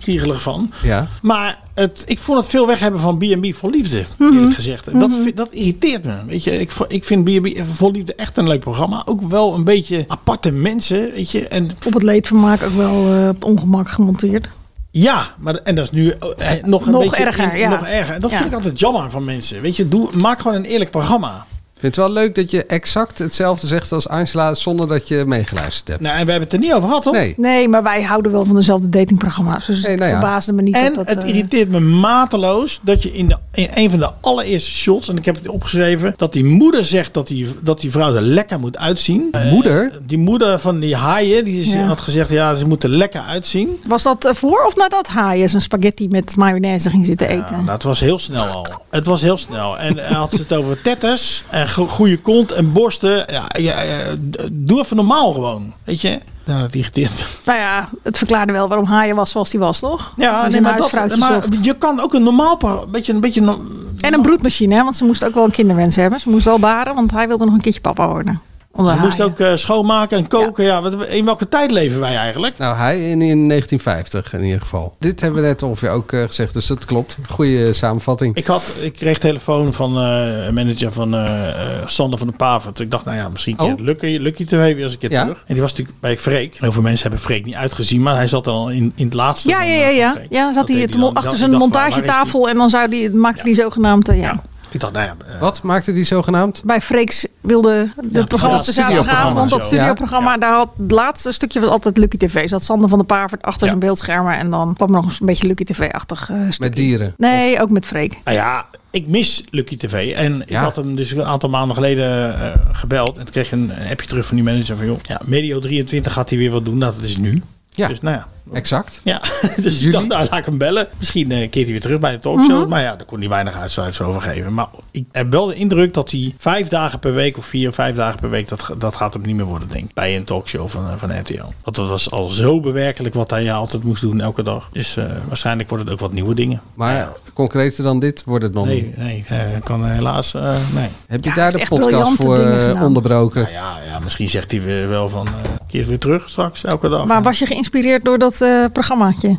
C: kriegelig van.
A: Ja.
C: Maar het, ik vond het veel weghebben van B&B voor Liefde, eerlijk gezegd. En dat, vind- dat irriteert me. Weet je, ik, vo- ik vind B&B voor Liefde echt een leuk programma. Ook wel een beetje aparte mensen, weet je. En
B: Op het leedvermaak ook wel eh, op het ongemak gemonteerd.
C: ja, maar, en dat is nu eh, nog een
B: Nog
C: beetje...
B: erger, ja.
C: Nog erger. En dat
B: Ja.
C: vind ik altijd jammer van mensen. Weet je, doe, maak gewoon een eerlijk programma.
A: Ik vind het wel leuk dat je exact hetzelfde zegt als Angela zonder dat je meegeluisterd hebt.
C: Nou, en we hebben het er niet over gehad, toch?
A: Nee.
B: Nee, maar wij houden wel van dezelfde datingprogramma's. Dus
A: Nee,
B: het
A: nou ja.
B: verbaasde me niet
C: En
B: dat dat...
C: het
B: eh,
C: irriteert me mateloos dat je in, de, in een van de allereerste shots, en ik heb het opgeschreven, dat die moeder zegt dat die, dat die vrouw er lekker moet uitzien. Eh,
A: moeder?
C: die moeder van die haaien, die is-
B: Ja.
C: had gezegd, ja, ze moeten lekker uitzien.
B: was dat eh, voor of nadat haaien zijn spaghetti met mayonaise ging zitten eten?
C: Nou, dat was heel snel al. Het was heel snel. En hij had het over tetters en go- goede kont en borsten. Ja, ja, ja, d- doe even normaal gewoon, weet je. Nou, dat irriteert me.
B: Nou ja, het verklaarde wel waarom haaien was zoals die was, toch? Als
C: Ja,
B: je
C: nee,
B: een
C: maar, dat,
B: huisvrouwtje
C: maar
B: zocht.
C: je kan ook een normaal... pro- Beetje, een beetje no-
B: En een broedmachine, hè? want ze moest ook wel een kinderwens hebben. Ze moest wel baren, want hij wilde nog een keertje papa worden. Onder
C: Ze moest
B: haaien.
C: ook eh, schoonmaken en koken. Ja. wat, in welke tijd leven wij eigenlijk?
A: Nou, hij in, in 1950 in ieder geval. Dit hebben we net ongeveer ook eh, gezegd, dus dat klopt. Goede samenvatting.
C: Ik, had, ik kreeg telefoon van eh, een manager van eh, eh, Sander van de Pavert. Ik dacht, nou ja, misschien
A: Oh.
C: keert Lucky, Lucky TV weer eens een keer
A: Ja.
C: terug. En die was natuurlijk bij Freek. Heel veel mensen hebben Freek niet uitgezien, maar hij zat al in, in het laatste.
B: Ja,
C: van,
B: ja,
C: eh,
B: ja,
C: van
B: ja.
C: Freek.
B: ja
C: Dat
B: zat hij
C: deed
B: toen
C: dan.
B: achter
C: Ik
B: zijn
C: dacht, nou waar- waar is die?
B: montagetafel en dan zou die, maakte hij zogenaamd... eh, ja.
C: Ja. Ik dacht, nou ja. eh,
A: Wat maakte die zogenaamd?
B: bij Freeks wilde het programma op de
C: dat studioprogramma
B: zaterdagavond, dat
C: zo.
B: studioprogramma,
C: Ja.
B: daar had het laatste stukje was altijd Lucky TV. Zat Sander van der Pavert achter
C: Ja.
B: zijn beeldschermen en dan kwam er nog een beetje Lucky TV-achtig eh stukje.
A: Met dieren.
B: Nee, ook met Freek.
C: Nou ja, ik mis Lucky TV. En ik
A: Ja.
C: had hem dus een aantal maanden geleden eh, gebeld. En toen kreeg ik een een appje terug van die manager van... joh, ja, Medio 23 gaat hij weer wat doen. Nou, dat is nu.
A: Ja,
C: Dus nou ja.
A: exact.
C: Ja, *laughs* dus
A: Jullie?
C: ik dacht, nou, laat ik hem bellen. Misschien eh, keert hij weer terug bij de talkshow. Maar ja, daar kon hij weinig uitsluits over geven. Maar ik heb wel de indruk dat hij vijf dagen per week... of vier, vijf dagen per week, dat, ga- dat gaat hem niet meer worden, denk ik. Bij een talkshow van, eh, van RTL. Want dat was al zo bewerkelijk wat hij altijd moest doen elke dag. Dus eh, waarschijnlijk worden het ook wat nieuwe dingen.
A: Maar
C: Ja.
A: concreter dan dit wordt het nog
C: Nee,
A: niet.
C: nee, eh, kan helaas. eh, nee.
A: Heb je
B: Ja,
A: daar
B: het
A: de
B: is echt
A: podcast
B: briljante
A: voor
B: dingen
A: eh,
B: gedaan.
A: onderbroken?
C: Nou ja, ja, misschien zegt hij weer wel van. eh keer weer terug straks, elke dag.
B: Maar was je geïnspireerd door dat eh
C: *laughs*
B: programmaatje?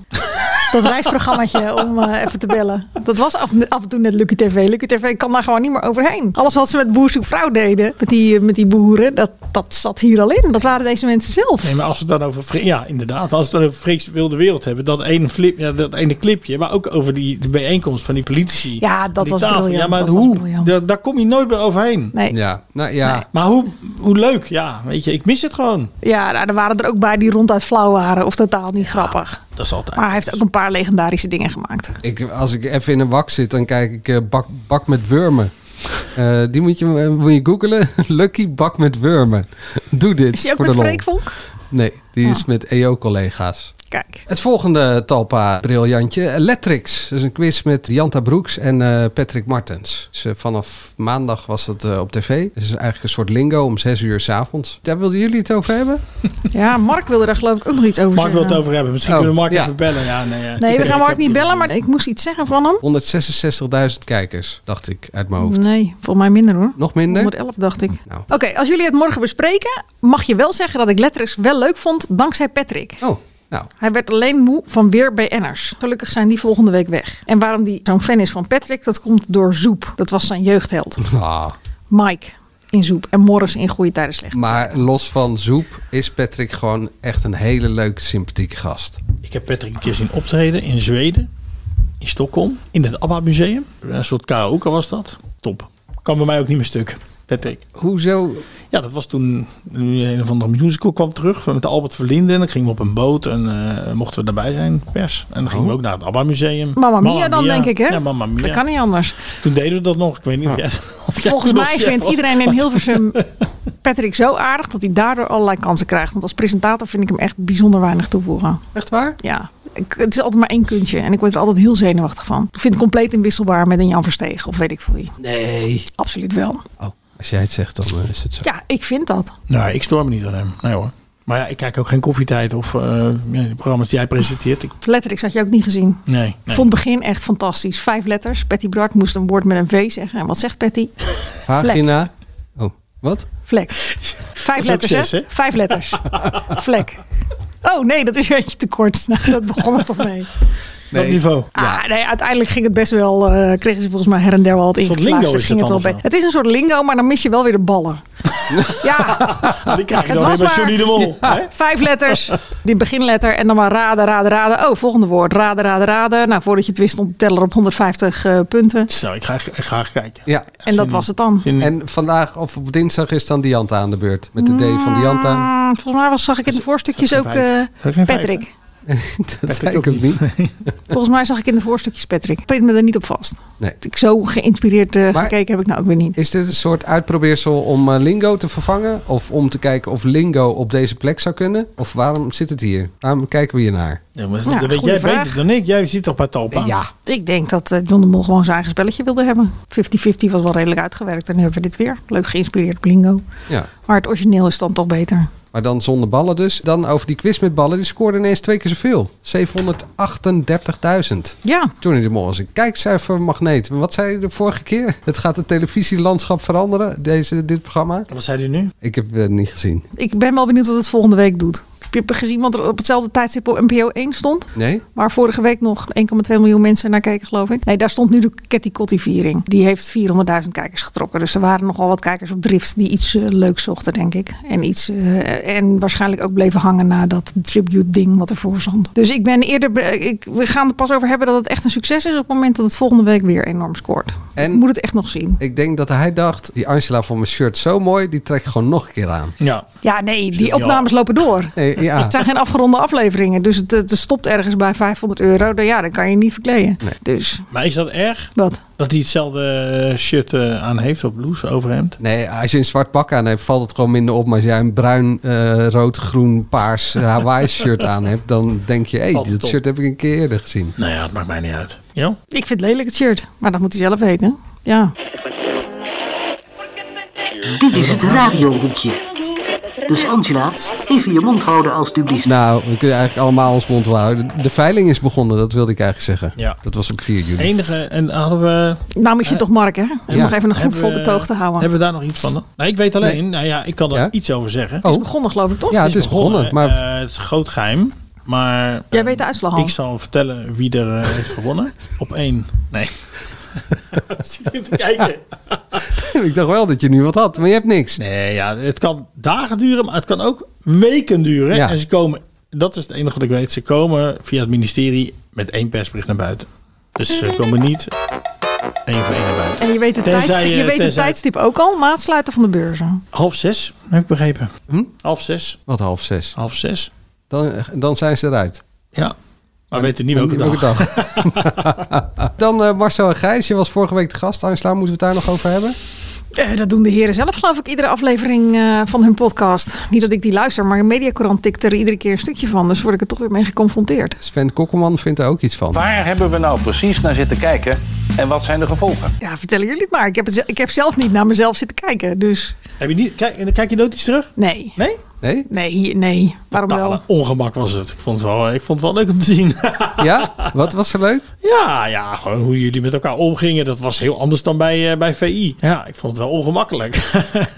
B: Dat reisprogrammaatje om eh, even te bellen. Dat was af, af en toe net Lucky TV. Lucky TV kan daar gewoon niet meer overheen. Alles wat ze met Boer Zoekt Vrouw deden, met die, eh, met die boeren, dat, dat zat hier al in. Dat waren deze mensen zelf.
C: Nee, maar als we het dan over. Fre- Ja, inderdaad. Als we het dan over Freeks Wilde Wereld hebben. Dat ene, flip, ja, dat ene clipje. Maar ook over die de bijeenkomst van die politici.
B: Ja, dat
C: die
B: was briljant,
C: Ja, maar
B: dat was
C: hoe?
B: briljant.
C: Da- daar kom je nooit meer overheen.
B: Nee.
A: Ja, nou ja.
B: Nee.
C: Maar hoe, hoe leuk, ja. Weet je, ik mis het gewoon.
B: Ja, nou, er waren er ook bij die ronduit flauw waren of totaal niet grappig.
C: Dat is
B: Maar
C: altijd.
B: dus- hij heeft ook een paar legendarische dingen gemaakt.
A: Ik, als ik even in een wak zit, dan kijk ik eh, bak, bak met wurmen. Eh, die moet je, eh, moet je googelen. *laughs* Lucky bak met wurmen. Doe dit.
B: Is hij ook
A: voor
B: met
A: de lol.
B: Freek Ah. Vonk?
A: Nee, die is met EO-collega's.
B: Kijk, Kijk.
A: Het volgende Talpa briljantje, Electrics. Dat is een quiz met Janta Broeks en eh, Patrick Martens. Dus, eh, vanaf maandag was dat eh, op tv. Het is eigenlijk een soort lingo om zes uur s avonds. Daar wilden jullie het over hebben?
B: Ja, Mark wilde daar geloof ik ook nog iets over
C: Mark wil
B: zeggen.
C: het over hebben. Misschien
A: Oh,
C: kunnen we Mark
A: ja.
C: even bellen. Ja, nee, ja.
B: Nee, we
C: Ik
B: gaan Mark
C: heb-
B: niet bellen, maar ik moest iets zeggen van hem.
A: 166.000 kijkers, dacht ik uit mijn hoofd.
B: Nee, volgens mij minder hoor.
A: Nog minder?
B: 111 dacht ik.
A: Nou.
B: Oké, als jullie het morgen bespreken, mag je wel zeggen dat ik Letterix wel leuk vond dankzij Patrick.
A: Oh,
B: *laughs*
A: nou.
B: Hij werd alleen moe van weer BN'ers. Gelukkig zijn die volgende week weg. En waarom die zo'n fan is van Patrick, dat komt door Zoep. Dat was zijn jeugdheld.
A: Ah,
B: Mike in Zoep en Morris in Goede Tijden Slecht.
A: maar los van Zoep is Patrick gewoon echt een hele leuke, sympathieke gast.
C: Ik heb Patrick een keer zien optreden in Zweden, in Stockholm, in het ABBA Museum. Een soort karaoke was dat. Top. Kan bij mij ook niet meer stuk. Patrick.
A: Hoezo?
C: Ja, dat was toen nu een of andere musical kwam terug met Albert Verlinde. En dan gingen we op een boot en eh, mochten we daarbij zijn, pers. En dan gingen we ook naar het ABBA Museum.
B: Mamma Mia dan, denk ik, hè?
C: Ja, Mamma Mia.
B: Dat kan niet anders.
C: Toen deden we dat nog. Ik weet niet of jij, *laughs* of jij
B: Volgens
C: toen nog
B: mij
C: chef
B: vindt
C: was.
B: iedereen in Hilversum *laughs* Patrick zo aardig dat hij daardoor allerlei kansen krijgt. Want als presentator vind ik hem echt bijzonder weinig toevoegen.
A: Echt waar?
B: Ja, ik, het is altijd maar één kuntje en ik word er altijd heel zenuwachtig van. Ik vind het compleet inwisselbaar met een Jan Versteeg of weet ik veel wie.
A: Nee.
B: Absoluut wel.
A: Oh, als jij het zegt, dan eh, is het zo.
B: Ja, ik vind dat.
C: Nou, ik stoor me niet aan hem. Nee hoor. Maar ja, ik kijk ook geen koffietijd of eh, ja, de programma's die jij presenteert. Ik,
B: Letterlijk had je ook niet gezien.
C: nee.
B: Ik
C: nee.
B: vond het begin echt fantastisch. Vijf letters. Patty Bart moest een woord met een V zeggen. En wat zegt Patty?
A: Vagina. Oh, wat?
B: Vlek. Vijf
C: ook
B: letters,
C: zes,
B: hè?
C: hè?
B: Vijf letters.
C: *laughs*
B: Vlek. Oh nee, dat is eentje te kort. *laughs* Nou, dat begon het toch mee.
C: Dat niveau.
B: Ah, nee, uiteindelijk ging het best wel. eh, kregen ze volgens mij her en der wel wat
C: soort
B: ingefluisterd.
C: lingo is
B: ging
C: het
B: wel
C: dan
B: be-
C: of zo?
B: Het is een soort lingo, maar dan mis je wel weer de
C: *laughs*
B: ballen. ja,
C: Ah, die krijg je
B: Het
C: dan
B: was
C: weer
B: maar-
C: bij Johnny de Mol. hè?
B: vijf letters. Die beginletter en dan maar raden, raden, raden. Oh, volgende woord. Raden, raden, raden. Nou, voordat je het wist stond de teller op 150 eh, punten.
C: Zo, ik ga, ik ga kijken.
A: Ja.
B: En dat was het dan.
C: Zin in.
A: En vandaag of op dinsdag is dan Dianta aan de beurt. Met de D van Dianta.
B: Mm, volgens mij was, zag ik in de voorstukjes ook eh,
C: Zou ik geen vijf-
B: Patrick.
A: *laughs* Dat zei ik ook niet.
B: Volgens mij zag ik in de voorstukjes Patrick. Ik weet me er niet op vast.
A: Nee.
B: Ik zo geïnspireerd eh,
A: Maar-
B: gekeken heb ik nou ook weer niet.
A: Is dit een soort uitprobeersel om eh, Lingo te vervangen? Of om te kijken of Lingo op deze plek zou kunnen? Of waarom zit het hier? Waarom kijken we hier naar?
C: Ja, maar
B: Ja,
C: dat weet
B: goede
C: jij
B: vraag.
C: beter dan ik. Jij zit toch bij Talpa?
B: Ik denk dat eh, John de Mol gewoon zijn eigen spelletje wilde hebben. 50-50 was wel redelijk uitgewerkt. En nu hebben we dit weer. Leuk geïnspireerd op lingo.
A: Ja.
B: Maar het origineel is dan toch beter.
A: Maar dan zonder ballen dus. Dan over die quiz met ballen. Die scoorde ineens twee keer zoveel. 738.000.
B: Ja,
A: Johnny de Mol is een kijkcijfermagneet. Wat zei je de vorige keer? Het gaat het televisielandschap veranderen, deze, dit programma.
C: Wat zei hij nu?
A: Ik heb het niet gezien.
B: ik ben wel benieuwd wat het volgende week doet. Heb je gezien wat er op hetzelfde tijdstip op NPO 1 stond?
A: Nee?
B: Waar vorige week nog 1,2 miljoen mensen naar keken, geloof ik. Nee, daar stond nu de Ketty Kotti viering. Die heeft 400.000 kijkers getrokken. Dus er waren nogal wat kijkers op drift die iets eh, leuks zochten, denk ik. En, iets, eh, en waarschijnlijk ook bleven hangen na dat tribute-ding wat ervoor stond. Dus ik ben eerder... be- Ik, we gaan het pas over hebben dat het echt een succes is... op het moment dat het volgende week weer enorm scoort.
A: En-
B: Ik moet het echt nog zien.
A: Ik denk dat hij dacht, die Angela van mijn shirt zo mooi, die trek ik gewoon nog een keer aan.
C: Ja.
B: Ja, nee,
C: Stukje
B: die opnames lopen door.
A: Nee, ja.
B: Het zijn geen afgeronde afleveringen. Dus het, het stopt ergens bij 500 euro. Dan, ja, dan kan je niet verkleden. Dus,
C: Maar is dat erg
B: wat?
C: dat hij hetzelfde shirt eh, aan heeft op blouse, overhemd?
A: Nee, als je een zwart pak aan hebt, valt het gewoon minder op. Maar als jij een bruin, eh, rood, groen, paars eh, Hawaii shirt aan hebt, dan denk je, hé, hey,
C: Valt het
A: dat
C: op.
A: shirt heb ik een keer eerder gezien.
C: Nou ja, het maakt mij niet uit. Ja?
B: Ik vind het lelijk het shirt, maar dat moet hij zelf weten. Ja.
L: Dit is het radiohoekje. Dus Angela, even je mond houden alstublieft.
A: Nou, we kunnen eigenlijk allemaal ons mond wel houden. De veiling is begonnen, dat wilde ik eigenlijk zeggen.
C: Ja.
A: Dat was op 4 juni.
C: Enige, en hadden we...
B: Nou moet je toch Mark, hè? Om
A: Ja.
B: nog even een goed
C: Eh, hebben
B: vol
C: we-
B: betoog te houden.
C: Hebben we daar nog iets van? Nou, ik weet alleen, nou ja, ik kan daar
A: Ja?
C: iets over zeggen.
B: Het
A: Oh.
B: is begonnen, geloof ik, toch?
A: Ja, het is begonnen. Maar
C: eh, het is een groot geheim. Maar eh,
B: Jij weet de uitslag al.
C: ik zal vertellen wie er eh, heeft gewonnen. Op één. *laughs* Nee. Zit je te kijken?
A: *laughs* ik dacht wel dat je nu wat had, maar je hebt niks.
C: Eh. Nee, ja, het kan dagen duren, maar het kan ook weken duren.
A: Ja.
C: En ze komen, dat is het enige wat ik weet, ze komen via het ministerie met één persbericht naar buiten. Dus ze komen niet één voor één naar buiten.
B: En je weet, de
C: Tenzij
B: tijdstip,
C: je-
B: je weet het
C: tenzij-
B: tijdstip ook al, maatsluiten van de beurzen.
C: Half zes, heb ik begrepen.
A: Hm?
C: Half zes,
A: Wat half zes?
C: half zes.
A: Dan, eh, dan zijn ze eruit.
C: Ja, maar, we weten niet welke
A: *laughs*
C: dag.
A: dag. dan eh, Marcel en Gijs, je was vorige week de gast. Angela, moeten we het daar nog over hebben?
B: Eh, dat doen de heren zelf, geloof ik, iedere aflevering eh, van hun podcast. Niet dat ik die luister, maar Mediacorant tikt er iedere keer een stukje van. Dus word ik er toch weer mee geconfronteerd.
A: Sven Kokkelman vindt er ook iets van.
M: Waar hebben we nou precies naar zitten kijken en wat zijn de gevolgen?
B: Ja, vertellen jullie het maar. Ik heb, het, ze- ik heb zelf niet naar mezelf zitten kijken. Dus
C: Heb je niet, kijk, kijk je nooit iets terug?
B: nee.
C: Nee?
A: Nee?
B: Nee, hier- nee. Waarom wel?
C: Totale ongemak was het. Ik vond het wel, eh, ik vond het wel leuk om te zien. *laughs*
A: ja? Wat was er leuk?
C: Ja, ja, gewoon hoe jullie met elkaar omgingen. Dat was heel anders dan bij, eh, bij VI. Ja, ik vond het wel ongemakkelijk. *laughs*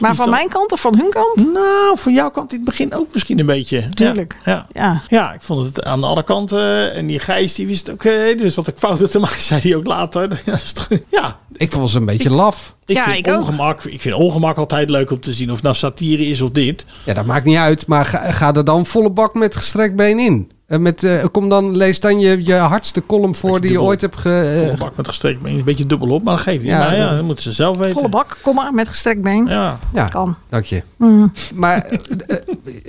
B: Maar van mijn kant of van hun kant?
C: nou, van jouw kant in het begin ook misschien een beetje.
B: Tuurlijk.
C: Ja, ja.
B: Ja.
C: Ja, ik vond het aan alle kanten. En die Gijs, die wist ook, eh, dus wat ik fouten te maken, *laughs* zei hij ook later. Ja, dat is toch- ja,
A: Ik vond ze een beetje laf.
C: ik,
B: Ja,
C: vind
B: ik ook.
C: ongemak, ik vind ongemak altijd leuk om te zien. Of het nou satire is of dit.
A: Ja, dat maakt niet uit. Maar ga, ga er dan volle bak met gestrekt been in. En met, eh, kom dan, lees dan je, je hardste column voor die je
C: dubbel.
A: ooit hebt ge...
C: Volle
A: eh,
C: bak met gestreken been is een beetje dubbel op, maar dat geeft niet.
A: Ja,
C: Ja, ja,
A: dan-
C: dat moeten ze zelf weten.
B: Volle bak, komma, met gestrekt been.
C: Ja,
A: ja,
B: Kan. Mm.
A: dank je. Maar eh, eh,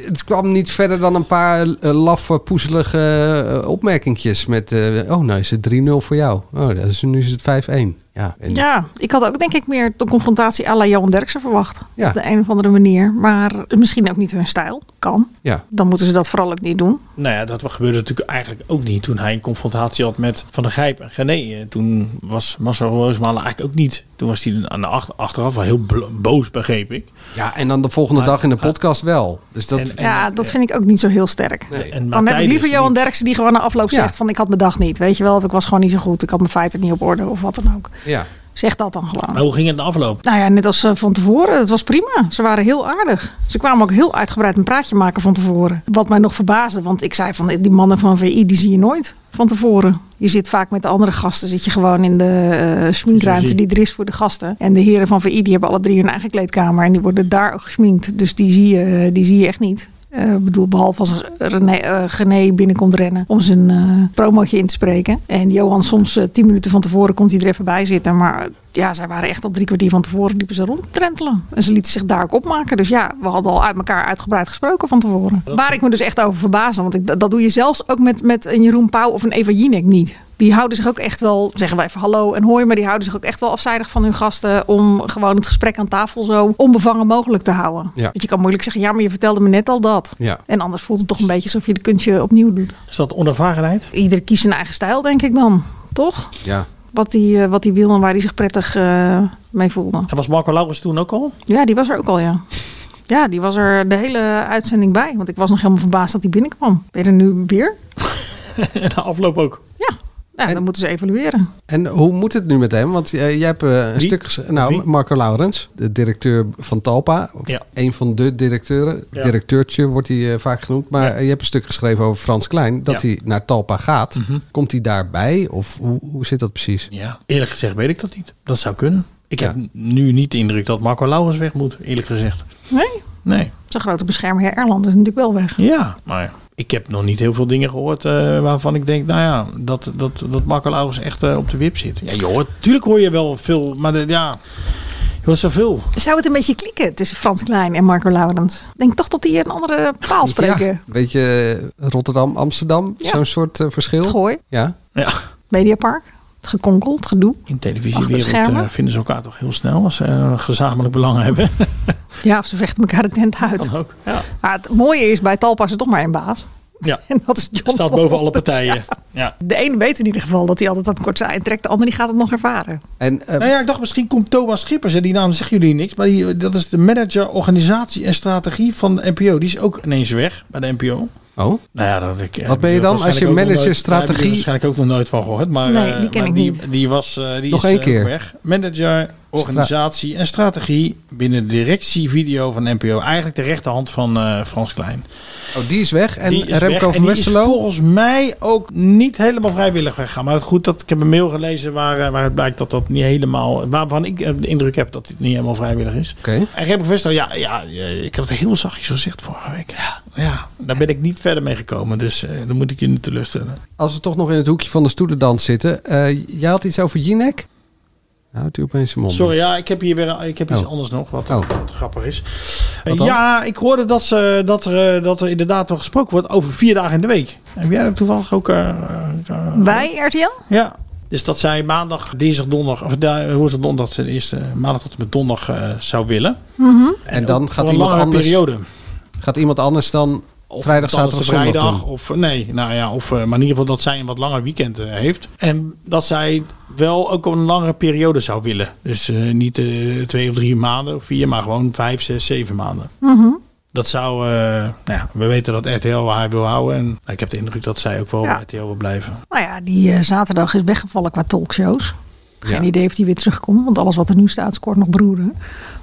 A: het kwam niet verder dan een paar eh, laffe, poezelige eh, opmerkingjes. Met, eh, oh, nou is het 3-0 voor jou. Oh, dat is, nu is het 5-1. Ja, en-
B: Ja, ik had ook denk ik meer de confrontatie à la Johan Derksen verwacht.
A: Ja.
B: Op de een of andere manier. Maar misschien ook niet hun stijl. Kan.
A: ja.
B: Dan moeten ze dat vooral ook niet doen.
C: Nou ja, dat gebeurde natuurlijk eigenlijk ook niet toen hij een confrontatie had met Van der Gijp en Gené. Eh, Toen was Marcel Roosmalen eigenlijk ook niet. Toen was hij aan de ach- achteraf wel heel bl- boos, begreep ik.
A: Ja, en dan de volgende dag in de podcast wel. Dus dat...
C: En-
B: ja, dat vind ik ook niet zo heel sterk.
A: Nee.
C: En
B: Dan heb
C: Matthijs
B: ik liever
C: is
B: Johan
C: niet-
B: Derksen die gewoon na afloop
A: Ja.
B: zegt van ik had mijn dag niet. Weet je wel, of ik was gewoon niet zo goed. Ik had mijn feiten niet op orde of wat dan ook.
A: ja.
B: Zeg dat dan gewoon.
C: Maar hoe ging het na afloop?
B: Nou ja, net als eh, van tevoren. Het was prima. Ze waren heel aardig. Ze kwamen ook heel uitgebreid een praatje maken van tevoren. Wat mij nog verbaasde, want ik zei van die mannen van VI, die zie je nooit van tevoren. Je zit vaak met de andere gasten, zit je gewoon in de eh sminkruimte die er is voor de gasten. En de heren van VI, die hebben alle drie hun eigen kleedkamer en die worden daar ook gesminkt. Dus die zie je, die zie je echt niet. Eh, Ik bedoel, behalve als René, eh, Gené binnenkomt rennen om zijn eh promotje in te spreken. En Johan soms eh, tien minuten van tevoren komt hij er even bij zitten. Maar eh, ja, zij waren echt al drie kwartier van tevoren liepen ze rondtrentelen. En ze lieten zich daar ook opmaken. Dus ja, we hadden al uit elkaar uitgebreid gesproken van tevoren. Waar ik me dus echt over verbaasde. Want ik, dat, dat doe je zelfs ook met, met een Jeroen Pauw of een Eva Jinek niet. Die houden zich ook echt wel, zeggen wij even hallo en hoi, maar die houden zich ook echt wel afzijdig van hun gasten om gewoon het gesprek aan tafel zo onbevangen mogelijk te houden.
A: Ja.
B: Want je kan moeilijk zeggen, ja, maar je vertelde me net al dat.
A: Ja.
B: En anders voelt het toch een beetje alsof je de kunstje opnieuw doet.
C: Is dat onervarenheid?
B: Ieder kiest zijn eigen stijl, denk ik dan. Toch?
A: ja.
B: Wat hij eh, wat die wil en waar hij zich prettig eh, mee voelde.
C: En was Marco Laurens toen ook *laughs* al?
B: Ja, die was er ook al, ja. Ja, die was er de hele uitzending bij. Want ik was nog helemaal verbaasd dat hij binnenkwam. Ben je er nu weer?
C: en na afloop ook.
B: Ja. Ja, dan moeten ze evalueren.
A: En hoe moet het nu met hem? Want eh, jij hebt eh, een
C: Wie?
A: stuk... ges- Nou,
C: Wie?
A: Marco Laurens, de directeur van Talpa. Of
C: Ja.
A: een van de directeuren.
C: Ja.
A: Directeurtje wordt hij eh, vaak genoemd. Maar eh, je hebt een stuk geschreven over Frans Klein. Dat
C: Ja. Mhm.
A: hij naar Talpa gaat. Komt hij daarbij? Of hoe, hoe zit dat precies?
C: Ja, eerlijk gezegd weet ik dat niet. Dat zou kunnen. Ik heb
A: Ja.
C: n- nu niet de indruk dat Marco Laurens weg moet, eerlijk gezegd.
B: Nee,
C: Nee.
B: zijn grote beschermer, heer Erland, is natuurlijk wel weg.
C: Ja, maar ik heb nog niet heel veel dingen gehoord eh, waarvan ik denk, nou ja, dat, dat, dat Marco Laurens echt eh, op de wip zit. Ja, je hoort, tuurlijk hoor je wel veel, maar de- ja, je hoort zoveel.
B: Zou het een beetje klikken tussen Frans Klein en Marco Laurens? Ik Denk toch dat die een andere taal spreken.
A: Ja, een beetje eh, Rotterdam, Amsterdam.
B: Ja.
A: Zo'n soort eh, verschil.
B: Het gooi,
A: Ja.
C: Ja,
B: Mediapark, het gekonkel, het gedoe.
C: in de
B: Achter
C: televisiewereld
B: de schermen.
C: eh, vinden ze elkaar toch heel snel als ze eh, gezamenlijk
B: *laughs*
C: belang hebben.
B: Ja, of ze vechten elkaar de tent uit.
C: Kan ook. Ja,
B: Maar het mooie is, bij Talpa is er toch maar één baas. *laughs*
C: ja.
B: En dat is John
C: staat boven alle
B: *laughs*
C: partijen. Ja.
B: De ene weet in ieder geval dat hij altijd aan het kortste eind trekt. De andere die gaat het nog ervaren.
A: En eh,
C: Nou ja, ik dacht misschien komt Thomas Schippers. Hè, die naam zeggen jullie niks. Maar die, dat is de manager organisatie en strategie van de NPO. Die is ook ineens weg bij de NPO.
A: oh,
C: Nou ja, dat, ik,
A: Wat ben je dan als je manager strategie-
C: Daar heb je waarschijnlijk ook nog nooit van gehoord. Maar,
B: Nee,
C: eh,
B: die ken
C: maar
B: ik
C: die,
B: niet.
C: Die was eh, die
A: Nog
C: is,
A: één
C: eh,
A: keer.
C: weg. Manager, organisatie en strategie binnen de directie video van NPO. Eigenlijk de rechterhand van eh, Frans Klein.
A: oh, die is weg. En
C: Die is weg
A: Remco
C: en
A: van
C: die is
A: Westerlo.
C: volgens mij ook niet helemaal vrijwillig weggaan. Maar het goed dat ik heb een mail gelezen waar, eh, waaruit blijkt dat dat niet helemaal... waarvan ik eh, de indruk heb dat het niet helemaal vrijwillig is.
A: Oké.
C: En Remco van Westerlo, ja, ja, eh, ik heb het heel zachtjes gezegd vorige week. Ja, ja, daar ben ik niet verder mee gekomen. Dus eh, dan moet ik je niet teleurstellen.
A: Als we toch nog in het hoekje van de stoelendans zitten. eh, jij had iets over Jinek? Nou, houdt u opeens zijn mond.
C: Sorry, ja, ik heb hier weer ik heb iets
A: Oh.
C: anders nog, wat,
A: Oh.
C: wat grappig is. Eh,
A: Wat dan?
C: ja, ik hoorde dat, ze, dat, er, eh, dat er inderdaad wel gesproken wordt over vier dagen in de week. Heb jij dat toevallig ook... eh, eh, eh,
B: Wij, RTL?
C: ja. Dus dat zij maandag, dinsdag, donderdag, of da- woensdag, donderdag, de eerste maandag tot en met donderdag eh, zou willen.
A: Mhm. En dan
C: ook
A: gaat
C: voor een
A: iemand
C: langere
A: anders-
C: periode.
A: Gaat iemand anders dan vrijdag,
C: Althans,
A: zaterdag,
C: de
A: zondag
C: vrijdag,
A: doen?
C: Of nee, nou ja, of, eh, maar in ieder geval dat zij een wat langer weekend eh, heeft. En dat zij wel ook een langere periode zou willen. Dus eh, niet eh, twee of drie maanden of vier, maar gewoon vijf, zes, zeven maanden.
B: Mhm.
C: Dat zou, eh, nou ja, we weten dat RTL haar wil houden. En nou, ik heb de indruk dat zij ook wel
B: Ja.
C: bij RTL wil blijven.
B: Nou ja, die eh, zaterdag is weggevallen qua talkshows. Geen
C: Ja.
B: idee of die weer terugkomt, want alles wat er nu staat scoort nog broeren.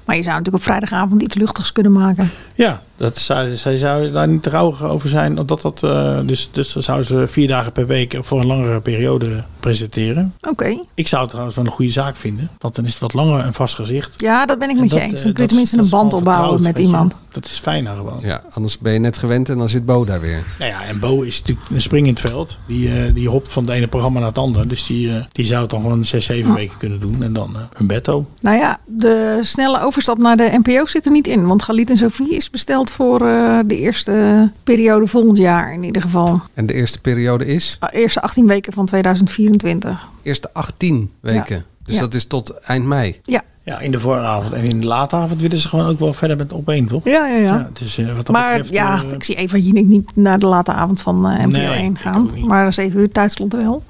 B: Maar je zou natuurlijk op vrijdagavond iets luchtigs kunnen maken.
C: Ja, dat zou, zij zou daar niet trouw over zijn. Omdat dat, eh, dus, dus dan zou ze vier dagen per week voor een langere periode presenteren.
B: Oké.
C: Ik zou het trouwens wel een goede zaak vinden. Want dan is het wat langer een vast gezicht.
B: Ja, dat ben ik
C: En
B: met je
C: dat,
B: eens.
C: eh,
B: Dan kun je
C: dat-
B: tenminste
C: dat
B: een
C: is
B: band
C: gewoon
B: opbouwen met
C: vertrouwd, weet je.
B: iemand.
C: Dat is fijner gewoon.
A: Ja, anders ben je net gewend en dan zit Bo daar weer.
C: Nou ja, en Bo is natuurlijk een spring in het veld. Die, eh, die hopt van het ene programma naar het andere. Dus die, eh, die zou het dan gewoon zes, zeven
B: Ja.
C: weken kunnen doen. En dan eh Humberto.
B: Nou ja, de snelle overstap naar de NPO zit er niet in. Want Galit en Sophie is besteld voor eh, de eerste periode volgend jaar in ieder geval.
A: En de eerste periode is?
B: Ah, Eerste 18 weken van 2024.
A: Eerste 18 weken. Dus
B: Ja.
A: dat is tot eind mei.
B: Ja.
C: Ja, in de vooravond en in de late avond willen ze gewoon ook wel verder met opeen, toch?
B: Ja, ja, ja.
C: dus eh, wat dat
B: Maar
C: betreft...
B: ja,
C: eh,
B: ik zie Eva Jinek niet naar de late avond van eh, NPO
C: Nee,
B: 1
C: ik
B: gaan. Maar 7 uur tijdslot wel.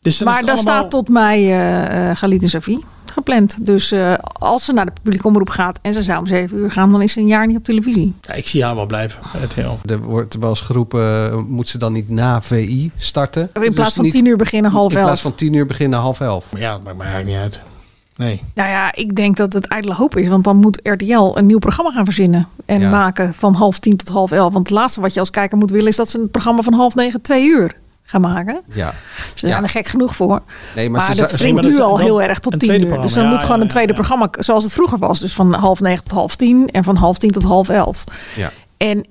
C: dus dan is
B: maar
C: het
B: daar
C: allemaal-
B: staat tot mei eh eh, Galit en Sophie gepland. Dus eh, als ze naar de publieke omroep gaat en ze zou om 7 uur gaan, dan is ze een jaar niet op televisie.
C: Ja, ik zie haar wel blijven. Het heel.
A: Er wordt wel eens geroepen, eh, moet ze dan niet na VI starten?
B: In plaats
A: Dus
B: van
A: niet-
B: 10 uur beginnen half
A: In
B: elf.
A: plaats van 10 uur beginnen half elf.
C: Ja, dat maakt mij eigenlijk niet uit. Nee.
B: Nou ja, ik denk dat het ijdele hoop is. Want dan moet RTL een nieuw programma gaan verzinnen. En
A: Ja.
B: maken van half tien tot half elf. Want het laatste wat je als kijker moet willen... is dat ze een programma van half negen, twee uur gaan maken.
A: Ja.
B: Ze zijn er gek genoeg voor.
A: Nee, maar
B: maar
A: ze zou-
B: dat
A: ze
B: wringt
A: moeten-
B: nu al
A: dan
B: heel erg tot
A: een
B: tien
A: tweede
B: uur. Dus
A: programma.
B: dan
A: Ja,
B: moet
A: ja,
B: gewoon een
A: ja,
B: tweede programma... zoals het vroeger was. Dus van half negen tot half tien. En van half tien tot half elf.
A: Ja.
B: En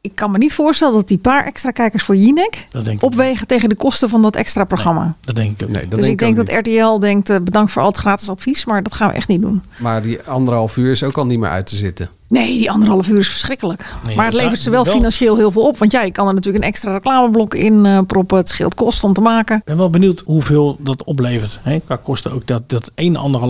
B: ik kan me niet voorstellen dat die paar extra kijkers voor Jinek...
C: Dat denk ik
B: opwegen tegen de kosten van dat extra programma.
C: Dat denk ik ook.
A: Nee, dat
B: dus ik denk
A: ook
B: dat RTL denkt, eh, bedankt voor al het gratis advies, maar dat gaan we echt niet doen.
A: niet. Maar die anderhalf uur is ook al niet meer uit te zitten.
B: Nee, die anderhalf uur is verschrikkelijk.
A: Nee,
B: maar het
A: dat
B: levert
A: zou-
B: ze wel,
A: wel-
B: financieel heel veel op. Want jij kan er natuurlijk een extra reclameblok in eh, proppen. Het scheelt kosten om te maken.
C: Ik ben wel benieuwd hoeveel dat oplevert. Hè? Qua kosten ook dat, dat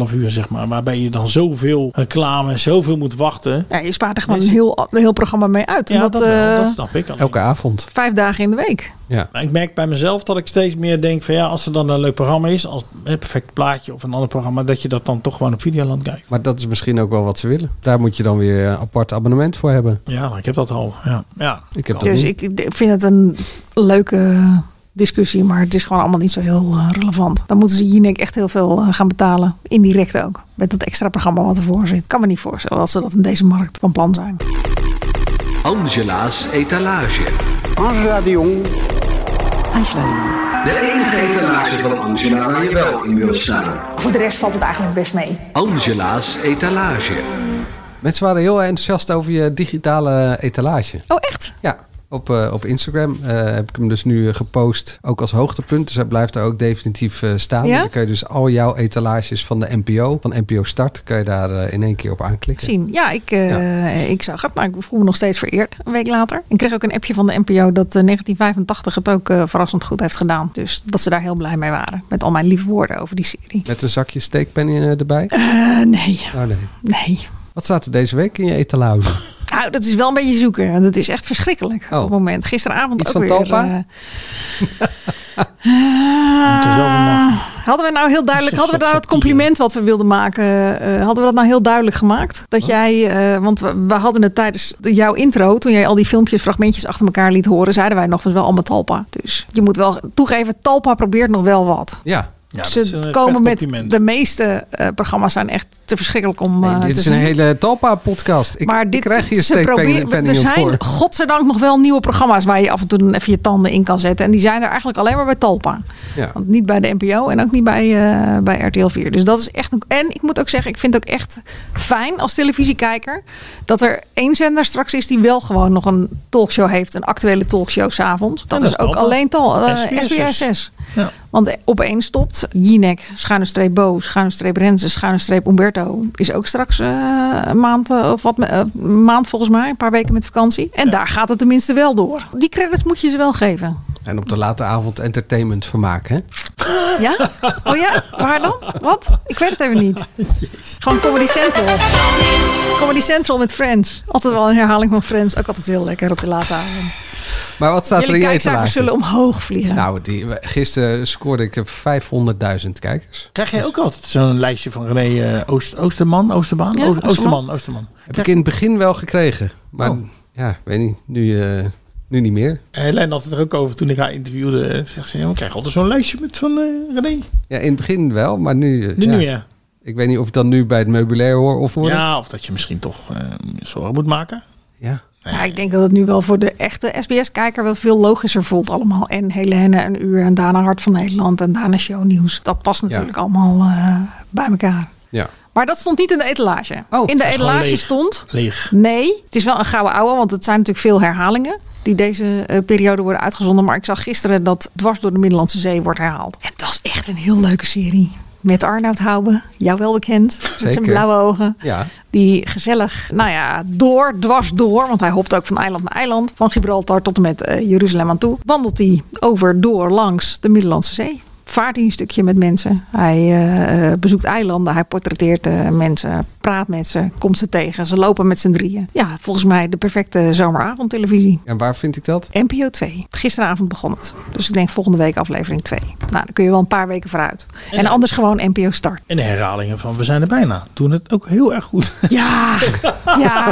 C: 1,5 uur, zeg maar. Waarbij je dan zoveel reclame, zoveel moet wachten.
B: Ja, je spaart er gewoon een heel, een heel programma mee uit. En
C: Ja, dat,
B: dat,
C: wel,
B: eh,
C: dat snap ik.
A: Elke avond.
B: vijf dagen in de week.
A: Ja.
C: Maar ik merk bij mezelf dat ik steeds meer denk van ja, als er dan een leuk programma is, als een perfect plaatje of een ander programma, dat je dat dan toch gewoon op Videoland kijkt.
A: Maar dat is misschien ook wel wat ze willen. Daar moet je dan weer een apart abonnement voor hebben.
C: Ja, maar ik heb dat al. Ja. ja.
A: Ik heb dat
B: Dus
A: niet.
B: ik ik vind het een leuke discussie, maar het is gewoon allemaal niet zo heel eh, relevant. Dan moeten ze Jinek echt heel veel eh, gaan betalen. Indirect ook. Met dat extra programma wat ervoor zit. Kan me niet voorstellen dat ze dat in deze markt van plan zijn.
N: Angela's etalage.
O: Angela de Jong.
N: De enige etalage van Angela waar je wel in wil staan.
B: Voor de rest valt het eigenlijk best mee.
N: Angela's etalage.
A: Mensen waren heel enthousiast over je digitale etalage.
B: Oh, echt?
A: Ja. Op, eh, op Instagram eh, heb ik hem dus nu eh, gepost, ook als hoogtepunt. Dus hij blijft er ook definitief eh, staan.
B: Ja?
A: Dan kun je dus al jouw etalages van de NPO, van NPO Start, kun je daar eh, in één keer op aanklikken.
B: zien. Ja, ik, eh, ik zag het, maar ik voel me nog steeds vereerd een week later. Ik kreeg ook een appje van de NPO dat eh, 1985 het ook eh, verrassend goed heeft gedaan. Dus dat ze daar heel blij mee waren. Met al mijn lieve woorden over die serie.
A: Met een zakje steekpen in, eh, erbij?
B: Eh, nee,
A: Oh nee.
B: nee.
A: Wat staat er deze week in je etalage?
B: Nou, dat is wel een beetje zoeken. want Het is echt verschrikkelijk
A: Oh.
B: op het moment. Gisteravond
A: Iets
B: ook
A: van
B: weer...
A: Talpa?
B: eh, eh, hadden we nou heel duidelijk, hadden we daar het compliment wat we wilden maken, eh, hadden we dat nou heel duidelijk gemaakt? Dat jij, eh, want we, we hadden het tijdens de- jouw intro, toen jij al die filmpjes, fragmentjes achter elkaar liet horen, zeiden wij nog was wel allemaal Talpa. Dus je moet wel toegeven, Talpa probeert nog wel wat.
A: Ja.
B: Ze komen met de meeste eh, programma's zijn echt te verschrikkelijk om
A: dit
B: eh, te
A: is
B: zien.
A: een hele Talpa-podcast. Ik,
B: maar dit
A: ik krijg hier
B: ze proberen-
A: steekpenningen
B: Er
A: penningen
B: zijn
A: voor.
B: godzijdank nog wel nieuwe programma's waar je af en toe dan even je tanden in kan zetten. En die zijn er eigenlijk alleen maar bij Talpa.
A: Ja.
B: Want niet bij de NPO en ook niet bij, eh, bij RTL 4. Dus dat is echt. Een, en ik moet ook zeggen, ik vind het ook echt fijn als televisiekijker. dat er één zender straks is die wel gewoon nog een talkshow heeft. Een actuele talkshow s'avonds. Dat,
P: En
B: is ook alleen tal, eh,
P: SBS6.
B: SBS6. Want opeens stopt Jinek, schuine streep Bo, schuine streep Renze, schuine streep Umberto. Is ook straks eh, een maand eh, of wat, me- eh, een maand volgens mij, een paar weken met vakantie. En daar gaat het tenminste wel door. Die credits moet je ze wel geven.
A: En op de late avond entertainment vermaken. Hè?
B: Ja? Oh ja? Waar dan? Wat? Ik weet het even niet. Gewoon Comedy Central. Comedy Central met Friends. Altijd wel een herhaling van Friends. Ook altijd heel lekker op de late avond.
A: Maar wat staat
B: Jullie
A: er in je
B: kijkcijfers
A: etalage?
B: zullen omhoog vliegen.
A: Nou, die, gisteren scoorde ik 500.000 kijkers.
C: Krijg jij ook altijd zo'n lijstje van René eh, Oost, Oosterman? Oosterman?
B: Ja,
C: Oost- Oosterman?
B: Oosterman.
C: Oosterman.
A: Heb ik in het begin wel gekregen. Maar
C: Oh.
A: ja, weet niet. Nu, eh, nu niet meer.
C: Helene had het er ook over toen ik haar interviewde. eh, Zegt ze, "Ja, we krijgen altijd zo'n lijstje met van eh, René.
A: Ja, in het begin wel, maar nu... eh,
C: Nu, nu, ja.
A: Ik weet niet of ik dan nu bij het meubilair hoor of hoor.
C: Ja, of dat je misschien toch eh, zorgen moet maken.
B: Ja, ik denk dat het nu wel voor de echte SBS-kijker wel veel logischer voelt allemaal. En Helene een uur en daarna Hart van Nederland en daarna shownieuws. Dat past natuurlijk allemaal eh, bij elkaar.
A: Ja.
B: Maar dat stond niet in de etalage. in de
C: dat Oh, is gewoon
B: etalage
C: leeg.
B: stond...
C: Leeg.
B: Nee, het is wel een gouden ouwe, want het zijn natuurlijk veel herhalingen die deze eh, periode worden uitgezonden. Maar ik zag gisteren dat Dwars door de Middellandse Zee wordt herhaald. En dat is echt een heel leuke serie. Met Arnoud Hoube, jou wel bekend, met
A: Zeker.
B: zijn blauwe ogen.
A: Ja.
B: Die gezellig, nou ja, door, dwars door, want hij hopt ook van eiland naar eiland. Van Gibraltar tot en met eh, Jeruzalem aan toe. Wandelt hij over, door, langs de Middellandse Zee. Vaart hij een stukje met mensen. Hij eh, eh, bezoekt eilanden, hij portretteert eh, mensen, praat met ze, komt ze tegen. Ze lopen met z'n drieën. Ja, volgens mij de perfecte zomeravondtelevisie.
A: En waar vind ik dat?
B: NPO 2. Gisteravond begon het. Dus ik denk volgende week aflevering 2. Nou, dan kun je wel een paar weken vooruit. En, anders gewoon NPO Start.
C: En de herhalingen van We zijn er bijna. Doen het ook heel erg goed.
B: Ja, ja.
C: Ja,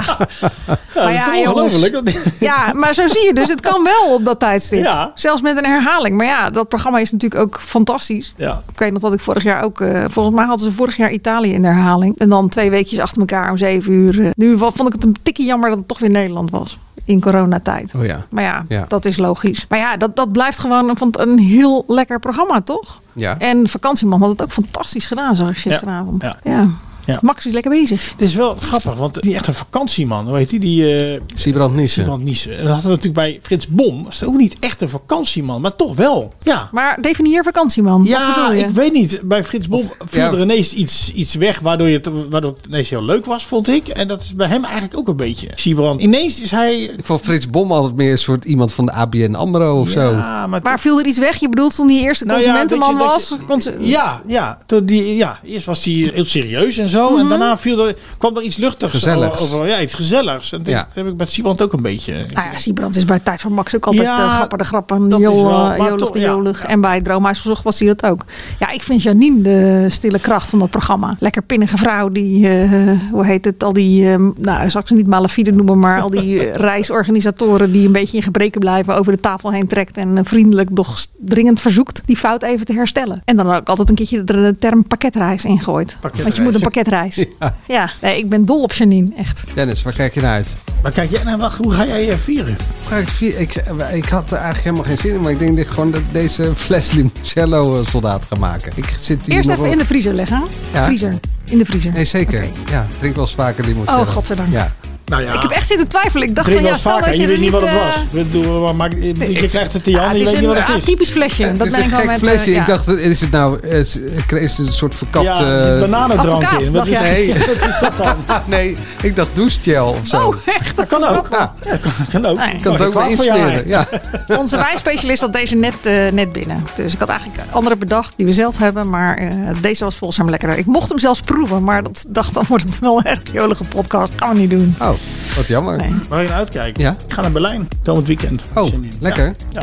C: *laughs* dat is
B: ja,
C: toch
B: jongens.
C: ongelooflijk?
B: Ja, maar zo zie je dus. Het kan wel op dat tijdstip.
C: Ja.
B: Zelfs met een herhaling. Maar ja, dat programma is natuurlijk ook fantastisch.
C: Ja.
B: Ik weet nog dat ik vorig jaar ook... eh, volgens mij hadden ze vorig jaar Italië in de herhaling. En dan twee weekjes achter elkaar om zeven uur. eh. Nu wa- vond ik het een tikkie jammer dat het toch weer Nederland was. In coronatijd.
A: Oh ja.
B: Maar ja,
A: Ja.
B: dat is logisch. Maar ja, dat, dat blijft gewoon een, van- een heel lekker programma, toch?
A: Ja.
B: En Vakantieman had het ook fantastisch gedaan, zag ik gisteravond.
C: Ja.
B: ja.
C: Ja.
B: Max is lekker bezig.
C: Het is wel grappig, want die echte vakantieman, hoe heet die? Die eh
A: Siebrand Nissen.
C: Brand Niesen. En dat hadden we natuurlijk bij Frits Bom. Was het ook niet echt een vakantieman, maar toch wel. Ja.
B: Maar definieer vakantieman. Wat
C: Ja,
B: bedoel je?
C: ik weet niet. Bij Frits Bom viel
A: ja.
C: er ineens iets, iets weg waardoor, je het, waardoor het ineens heel leuk was, vond ik. En dat is bij hem eigenlijk ook een beetje. Siebrand. Ineens is hij...
A: Ik vond Frits Bom altijd meer een soort iemand van de ABN AMRO of zo.
C: Ja, maar
B: Maar viel er iets weg? Je bedoelt toen die eerste
C: Nou ja,
B: consumentenman
C: dat je- dat
B: was? Consu-
C: Ja, ja, toen die, ja, eerst was hij heel serieus en zo.
B: Mhm.
C: En daarna viel er, kwam er iets luchtigs
A: Gezelligs.
C: over. Ja, iets gezelligs. En
A: Ja.
C: dat heb ik met Siebrand ook een beetje.
B: Nou ja, Siebrand is bij Tijd van Max ook altijd
C: Ja,
B: eh, grappig de grap en
C: dat is wel-
B: jol,
C: maar
B: eh, jolig
C: toch,
B: de
C: ja,
B: jolig. En bij het Droomhuisverzocht was hij dat ook. Ja, ik vind Janine de stille kracht van dat programma. Lekker pinnige vrouw die, eh, hoe heet het, al die, eh, nou zal ik ze niet malafide noemen, maar al die
C: *laughs*
B: eh, reisorganisatoren die een beetje in gebreken blijven over de tafel heen trekt en eh, vriendelijk, doch dringend verzoekt die fout even te herstellen. En dan ook altijd een keertje de, de term pakketreis ingooit. Want je moet een
C: *laughs*
B: pakketreis. Ja, nee, ik ben dol op Janine, echt.
A: Dennis, waar kijk je naar uit?
C: Maar kijk, jij, nou, wacht, hoe ga jij eh, vieren?
A: Ga ik, het vier- ik, ik had er eigenlijk helemaal geen zin in, maar ik denk dat ik gewoon dat deze fles limoncello eh, soldaat ga maken. Ik zit hier
B: Eerst
A: nog
B: even
A: wel-
B: in de vriezer leggen.
A: Ja.
B: Vriezer. In de vriezer.
A: Nee, zeker. Ja, ik drink wel eens vaker limoncello.
B: Oh, godzijdank.
A: Ja.
C: Nou ja,
B: Ik heb echt zitten twijfelen. Ik dacht
C: drink
B: van
C: wel
B: ja, stel
C: eens vaker.
B: dat
C: Je,
B: je, er
C: weet niet
B: niet...
C: wat het
B: eh,
C: was. Ik bedoel, maar, maak- je krijgt het in je
B: ah,
C: handen,
B: het is een
C: je weet niet wat
B: ah,
C: het is.
B: typisch flesje.
A: Het
B: dat
A: is
B: ben
A: een
B: ik wel
A: gek
B: met...
A: flesje.
B: eh, ja.
A: Ik dacht, is het nou eh, is, is het een soort verkapte...
C: Ja, er zit bananendrank
B: Advocaat,
C: in. Wat
B: dacht
C: is,
A: jij? Nee. *laughs*
C: wat is dat dan?
A: nee, ik dacht douchegel of zo.
B: Oh, echt?
C: Dat kan ook.
A: Ja,
C: Ja, kan, kan ook.
B: Nee.
A: ik kan het
C: Oh,
A: ook wel
C: kwaad voor
A: inspireren.
C: jou.
A: Ja.
B: Onze wijnspecialist had deze net, eh, net binnen. Dus ik had eigenlijk andere bedacht die we zelf hebben. Maar eh, deze was volgens hem lekkerder. Ik mocht hem zelfs proeven. Maar dat dacht, dan wordt het wel een erg jolige podcast. Gaan we niet doen.
A: Oh, wat jammer.
B: Nee.
C: Waar je naar uitkijkt.
A: Ja.
C: Ik ga naar Berlijn komend weekend.
A: Oh,
C: Zin in. Ja.
A: lekker.
C: Ja.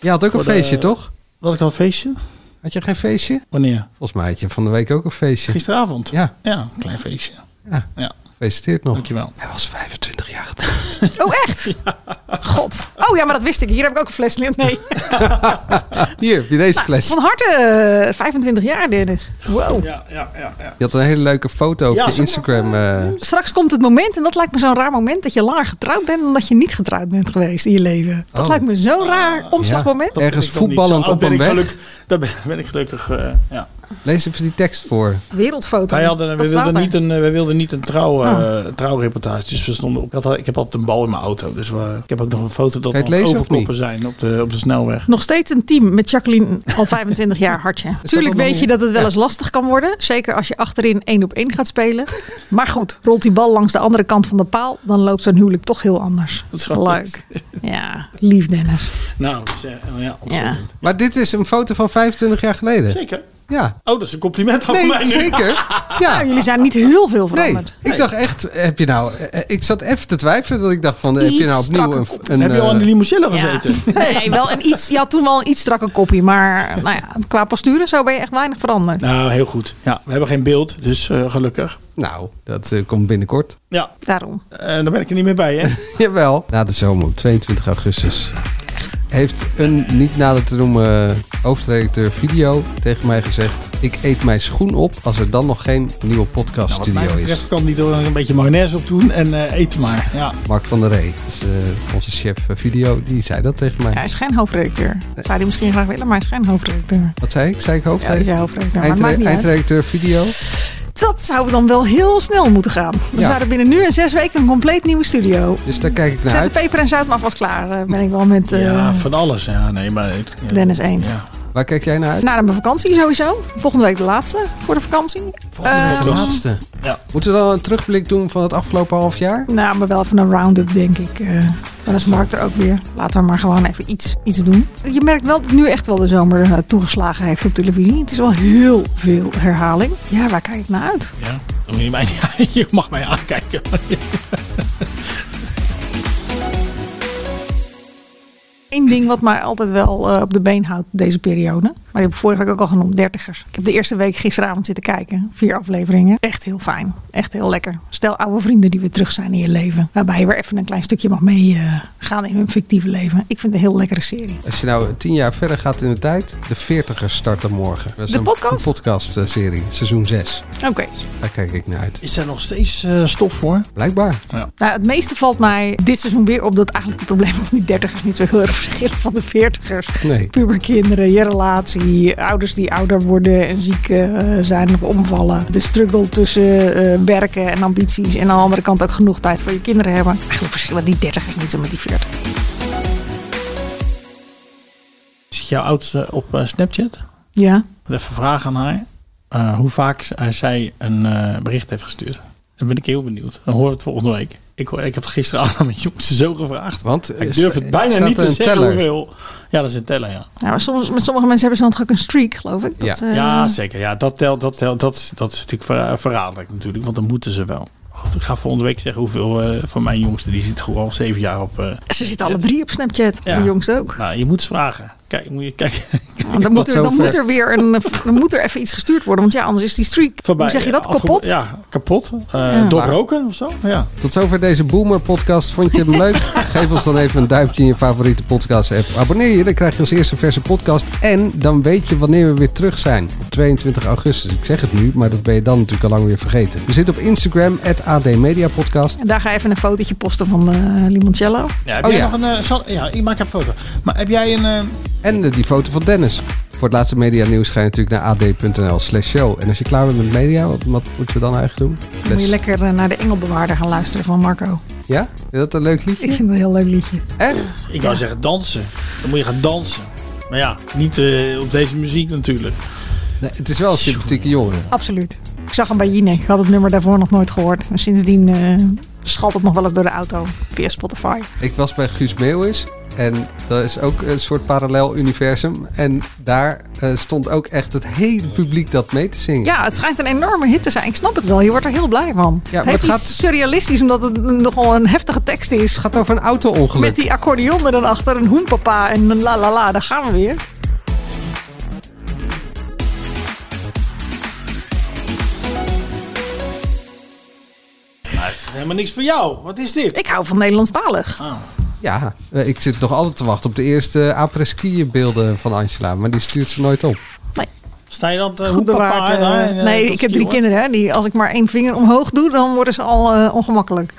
A: Je had ook een
C: Voor de-
A: feestje, toch?
C: Wat ik al een feestje?
A: Had je geen feestje?
C: Wanneer?
A: Volgens mij had je van de week ook een feestje.
C: Gisteravond.
A: Ja,
C: Ja, een klein feestje.
A: Ja.
C: ja.
A: gefeliciteerd nog.
C: Dankjewel.
A: Hij was 25 jaar getrouwd.
B: Oh, echt? God. Oh ja, maar dat wist ik. Hier heb ik ook een fles. Nee.
A: Hier, heb je deze fles.
B: Van harte eh, 25 jaar, Dennis. Wow.
C: Ja, ja, ja. ja.
A: Je had een hele leuke foto op
C: Ja,
A: je
C: zo-
A: Instagram. eh.
B: Straks komt het moment, en dat lijkt me zo'n raar moment, dat je langer getrouwd bent dan dat je niet getrouwd bent geweest in je leven. Dat
A: Oh.
B: lijkt me zo'n raar
C: Ah.
B: omslagmoment.
A: Ja. Ergens
C: Ik dan niet zo
A: voetballend
C: oud
A: op
C: ben
A: een
C: ik
A: weg.
C: gelukkig- Daar ben, ben ik gelukkig. eh, ja.
A: Lees even die tekst voor.
B: Wereldfoto.
C: Wij hadden, we
B: Dat staat
C: wilden
B: er.
A: Ah.
C: niet een, eh, we wilden niet een trouw, eh, trouwreportage. Dus we stonden op. Ik, had, al- ik heb altijd een bal in mijn auto. Dus we- ik heb ook nog een foto dat we overkoppen zijn op de, op de snelweg.
B: Nog steeds een team met Jacqueline
C: *laughs*
B: al 25 jaar hartje. Tuurlijk
C: dan
B: weet
C: nog-
B: je dat het wel
C: Ja.
B: eens lastig kan worden. Zeker als je achterin één op één gaat spelen. Maar goed, rolt die bal langs de andere kant van de paal. Dan loopt zo'n huwelijk toch heel anders.
C: Dat is gewoon
B: Leuk. Ja, lief Dennis.
C: Nou, dus, eh, ja, ontzettend.
A: Maar dit is een foto van 25 jaar geleden.
C: Zeker.
A: Ja.
C: Oh, dat is een compliment aan
A: Nee,
C: mij nu. *laughs*
A: zeker. Ja.
B: Nou, jullie zijn niet heel veel
A: Nee,
B: veranderd.
A: ik dacht echt, heb je nou... eh, Ik zat even te twijfelen dat ik dacht van, heb je
B: Iets
A: nou opnieuw
B: strakker
A: een...
B: kop.
A: een
C: Heb je al
A: eh,
C: aan de limousine
B: Ja. *laughs*
C: gezeten?
B: Nee, wel een iets, je had toen wel een iets strakke koppie. Maar nou ja, qua postuur en zo ben je echt weinig veranderd.
C: Nou, heel goed. Ja, we hebben geen beeld, dus eh, gelukkig.
A: Nou, dat eh, komt binnenkort. *laughs*
C: Ja,
B: Daarom.
C: Eh daar ben ik er niet meer bij, *laughs* hè?
A: Jawel. Na de zomer, op 22 augustus. Heeft een niet nader te noemen hoofdredacteur video tegen mij gezegd... Ik eet mijn schoen op als er dan nog geen nieuwe
C: Nou, wat
A: podcaststudio
C: mij
A: is.
C: betreft kan die er een beetje mayonaise op doen en eh eten maar. Ja.
A: Mark van der Ree, is, eh, onze chef eh, video, die zei dat tegen mij.
B: Ja, hij is geen hoofdredacteur. Dat zou hij misschien graag willen, maar hij is geen hoofdredacteur.
A: Wat zei ik? Zei ik
B: Ja, die
A: hoofdredacteur?
B: zijn hoofdredacteur. Maar het
A: Eindre-
B: maakt niet uit.
A: eindredacteur video.
B: Dat zou dan wel heel snel moeten gaan. We
A: Ja.
B: zouden binnen nu en zes weken een compleet nieuwe studio.
A: Dus daar kijk ik naar
B: Zet
A: uit.
B: de peper en zout maar vast klaar. eh, Ben ik wel met eh,
C: ja, van alles. Ja, nee, maar... ik- ja.
B: Dennis eens.
C: Ja.
A: Waar kijk jij naar uit?
B: Naar mijn vakantie sowieso. Volgende week de laatste voor de vakantie. Eh,
A: de laatste.
C: Ja.
A: Moeten we dan een terugblik doen van het afgelopen half jaar?
B: nou, maar wel even een round-up, denk ik. Eh dan is Mark er ook weer. Laten we maar gewoon even iets, iets doen. Je merkt wel dat nu echt wel de zomer eh, toegeslagen heeft op televisie. Het is wel heel veel herhaling. Ja, waar kijk ik naar uit?
C: Ja, dan moet je, mij niet, *laughs* je mag mij aankijken.
B: Eén ding wat mij altijd wel eh, op de been houdt deze periode. Maar die heb ik vorige week ook al genoemd, dertigers. Ik heb de eerste week gisteravond zitten kijken. Vier afleveringen. Echt heel fijn. Echt heel lekker. Stel oude vrienden die weer terug zijn in je leven. Waarbij je weer even een klein stukje mag meegaan eh, in hun fictieve leven. Ik vind het een heel lekkere serie.
A: Als je nou tien jaar verder gaat in de tijd, de 40ers starten morgen. Dat is
B: De
A: een,
B: podcast?
A: Een podcast-serie, seizoen 6.
B: Oké.
A: Daar kijk ik naar uit.
C: Is daar nog steeds eh, stof voor?
A: Blijkbaar.
B: Nou, het meeste valt mij dit seizoen weer op dat eigenlijk de problemen van die dertigers niet zo heel erg verschillen van de veertigers.
A: Nee.
B: Puberkinderen, je relatie, ouders die ouder worden en ziek eh, zijn of omvallen. De struggle tussen eh, werken en ambities en aan de andere kant ook genoeg tijd voor je kinderen hebben. Eigenlijk verschillen die dertigers niet zo met die veertigers.
C: Zit jouw oudste op eh, Snapchat?
B: Ja.
C: Even vragen aan haar. eh, hoe vaak z- eh, zij een eh, bericht heeft gestuurd. Dan ben ik heel benieuwd. Dan horen we het volgende week. Ik, hoor- ik heb het gisteravond *laughs* aan mijn jongste zo gevraagd.
A: Want
C: ik durf het bijna
A: staat
C: niet
A: er
C: te
A: een
C: zeggen
A: teller?
C: hoeveel. Ja, dat is een teller, ja.
B: Nou, maar soms, met sommige mensen hebben ze dan toch ook een streak, geloof ik.
C: Ja.
B: Dat, eh,
C: ja, zeker. Ja, dat telt, dat telt. Dat, is- dat is natuurlijk ver- verraderlijk natuurlijk, want dan moeten ze wel. Goed, ik ga volgende week zeggen hoeveel eh, van mijn jongste, die zit gewoon al zeven jaar op. eh,
B: Ze zitten alle drie op Snapchat,
C: Ja.
B: de jongste ook.
C: nou, je moet ze vragen. Kijk, *laughs* moet je kijken.
B: Want dan moet, er, dan moet er weer een, dan moet er even iets gestuurd worden, want ja, anders is die streak.
C: Voorbij, eh,
B: Hoe zeg je dat?
C: afge-
B: Kapot?
C: Ja, kapot. Eh
B: Ja.
C: Doorbroken of zo? Ja.
A: Tot zover deze Boomer-podcast. Vond je hem
B: *laughs*
A: leuk? Geef ons dan even een duimpje in je favoriete podcast-app. Abonneer je, dan krijg je als eerste een verse podcast. En dan weet je wanneer we weer terug zijn. Op 22 augustus. Ik zeg het nu, maar dat ben je dan natuurlijk al lang weer vergeten. We zitten op Instagram, @admediapodcast.
B: En daar ga je even een fotootje posten van eh, limoncello.
C: Ja, heb
A: Oh,
C: jij
A: ja.
C: nog een, eh, Sal- ja, ik maak een foto. Maar heb jij een... eh,
A: En eh, die foto van Dennis. Voor het laatste media nieuws ga je natuurlijk naar ad.nl slash show. En als je klaar bent met media, wat, wat moeten we dan eigenlijk doen?
B: Dan moet je
A: Les-
B: lekker eh, naar de Engelbewaarder gaan luisteren van Marco.
A: Ja? Is dat een leuk liedje?
B: Ik vind het een heel leuk liedje.
A: Echt?
C: Ik wou zeggen dansen. Dan moet je gaan dansen. Maar ja, niet eh, op deze muziek natuurlijk.
A: Nee, het is wel een sympathieke jongen.
B: Absoluut. Ik zag hem bij Jinek. Ik had het nummer daarvoor nog nooit gehoord. En sindsdien eh schalt het nog wel eens door de auto via Spotify.
A: Ik was bij Guus Meeuwis. En dat is ook een soort parallel universum. En daar eh, stond ook echt het hele publiek dat mee te zingen.
B: Ja, het schijnt een enorme hit te zijn. Ik snap het wel. Je wordt er heel blij van.
A: maar
B: het heeft
A: het
B: iets surrealistisch, omdat het nogal een heftige tekst is.
A: Het gaat over een auto-ongeluk.
B: Met die accordeon er dan achter, een hoenpapa en een la la la. Daar gaan we weer.
C: Nou, het is helemaal niks voor jou. Wat is dit?
B: Ik hou van Nederlandstalig.
A: Ah. Ja, eh, ik zit nog altijd te wachten op de eerste après-ski beelden van Angela. Maar die stuurt ze nooit op.
C: Sta je dan te nou,
B: Goed bewaard. eh, nee, ik heb drie kinderen. Hè, die, als ik maar één vinger omhoog doe, dan worden ze al eh, ongemakkelijk.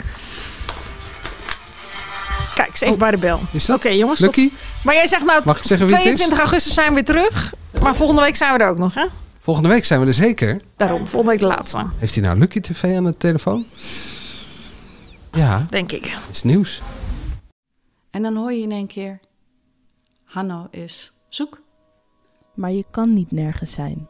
B: Kijk, ze even bij de bel.
A: Oh. Is
B: Oké,
A: dat
B: jongens. tot-
A: Lucky?
B: Maar jij zegt nou,
A: Mag ik zeggen wie het is?
B: 22 augustus zijn we weer terug. Maar volgende week zijn we er ook nog, hè?
A: Volgende week zijn we er zeker.
B: Daarom, volgende week de laatste.
A: Heeft hij nou Lucky TV aan de telefoon? Ja.
B: Denk ik.
A: Is nieuws.
P: En dan hoor je in één keer: Hanno is zoek.
Q: Maar je kan niet nergens zijn.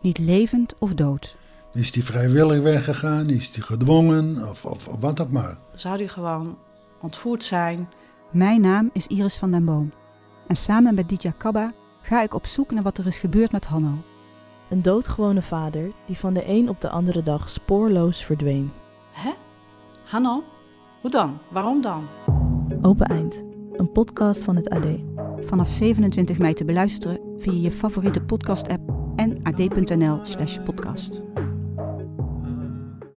Q: Niet levend of dood.
R: Is die vrijwillig weggegaan? Is die gedwongen? Of, of, of wat ook maar.
P: Zou die gewoon ontvoerd zijn?
Q: Mijn naam is Iris van den Boom. En samen met Ditya Kabba ga ik op zoek naar wat er is gebeurd met Hanno.
M: Een doodgewone vader die van de een op de andere dag spoorloos verdween.
P: Hè? Hanno? Hoe dan? Waarom dan?
M: Open Eind, een podcast van het AD.
Q: Vanaf 27 mei te beluisteren via je favoriete podcast-app en ad.nl/podcast.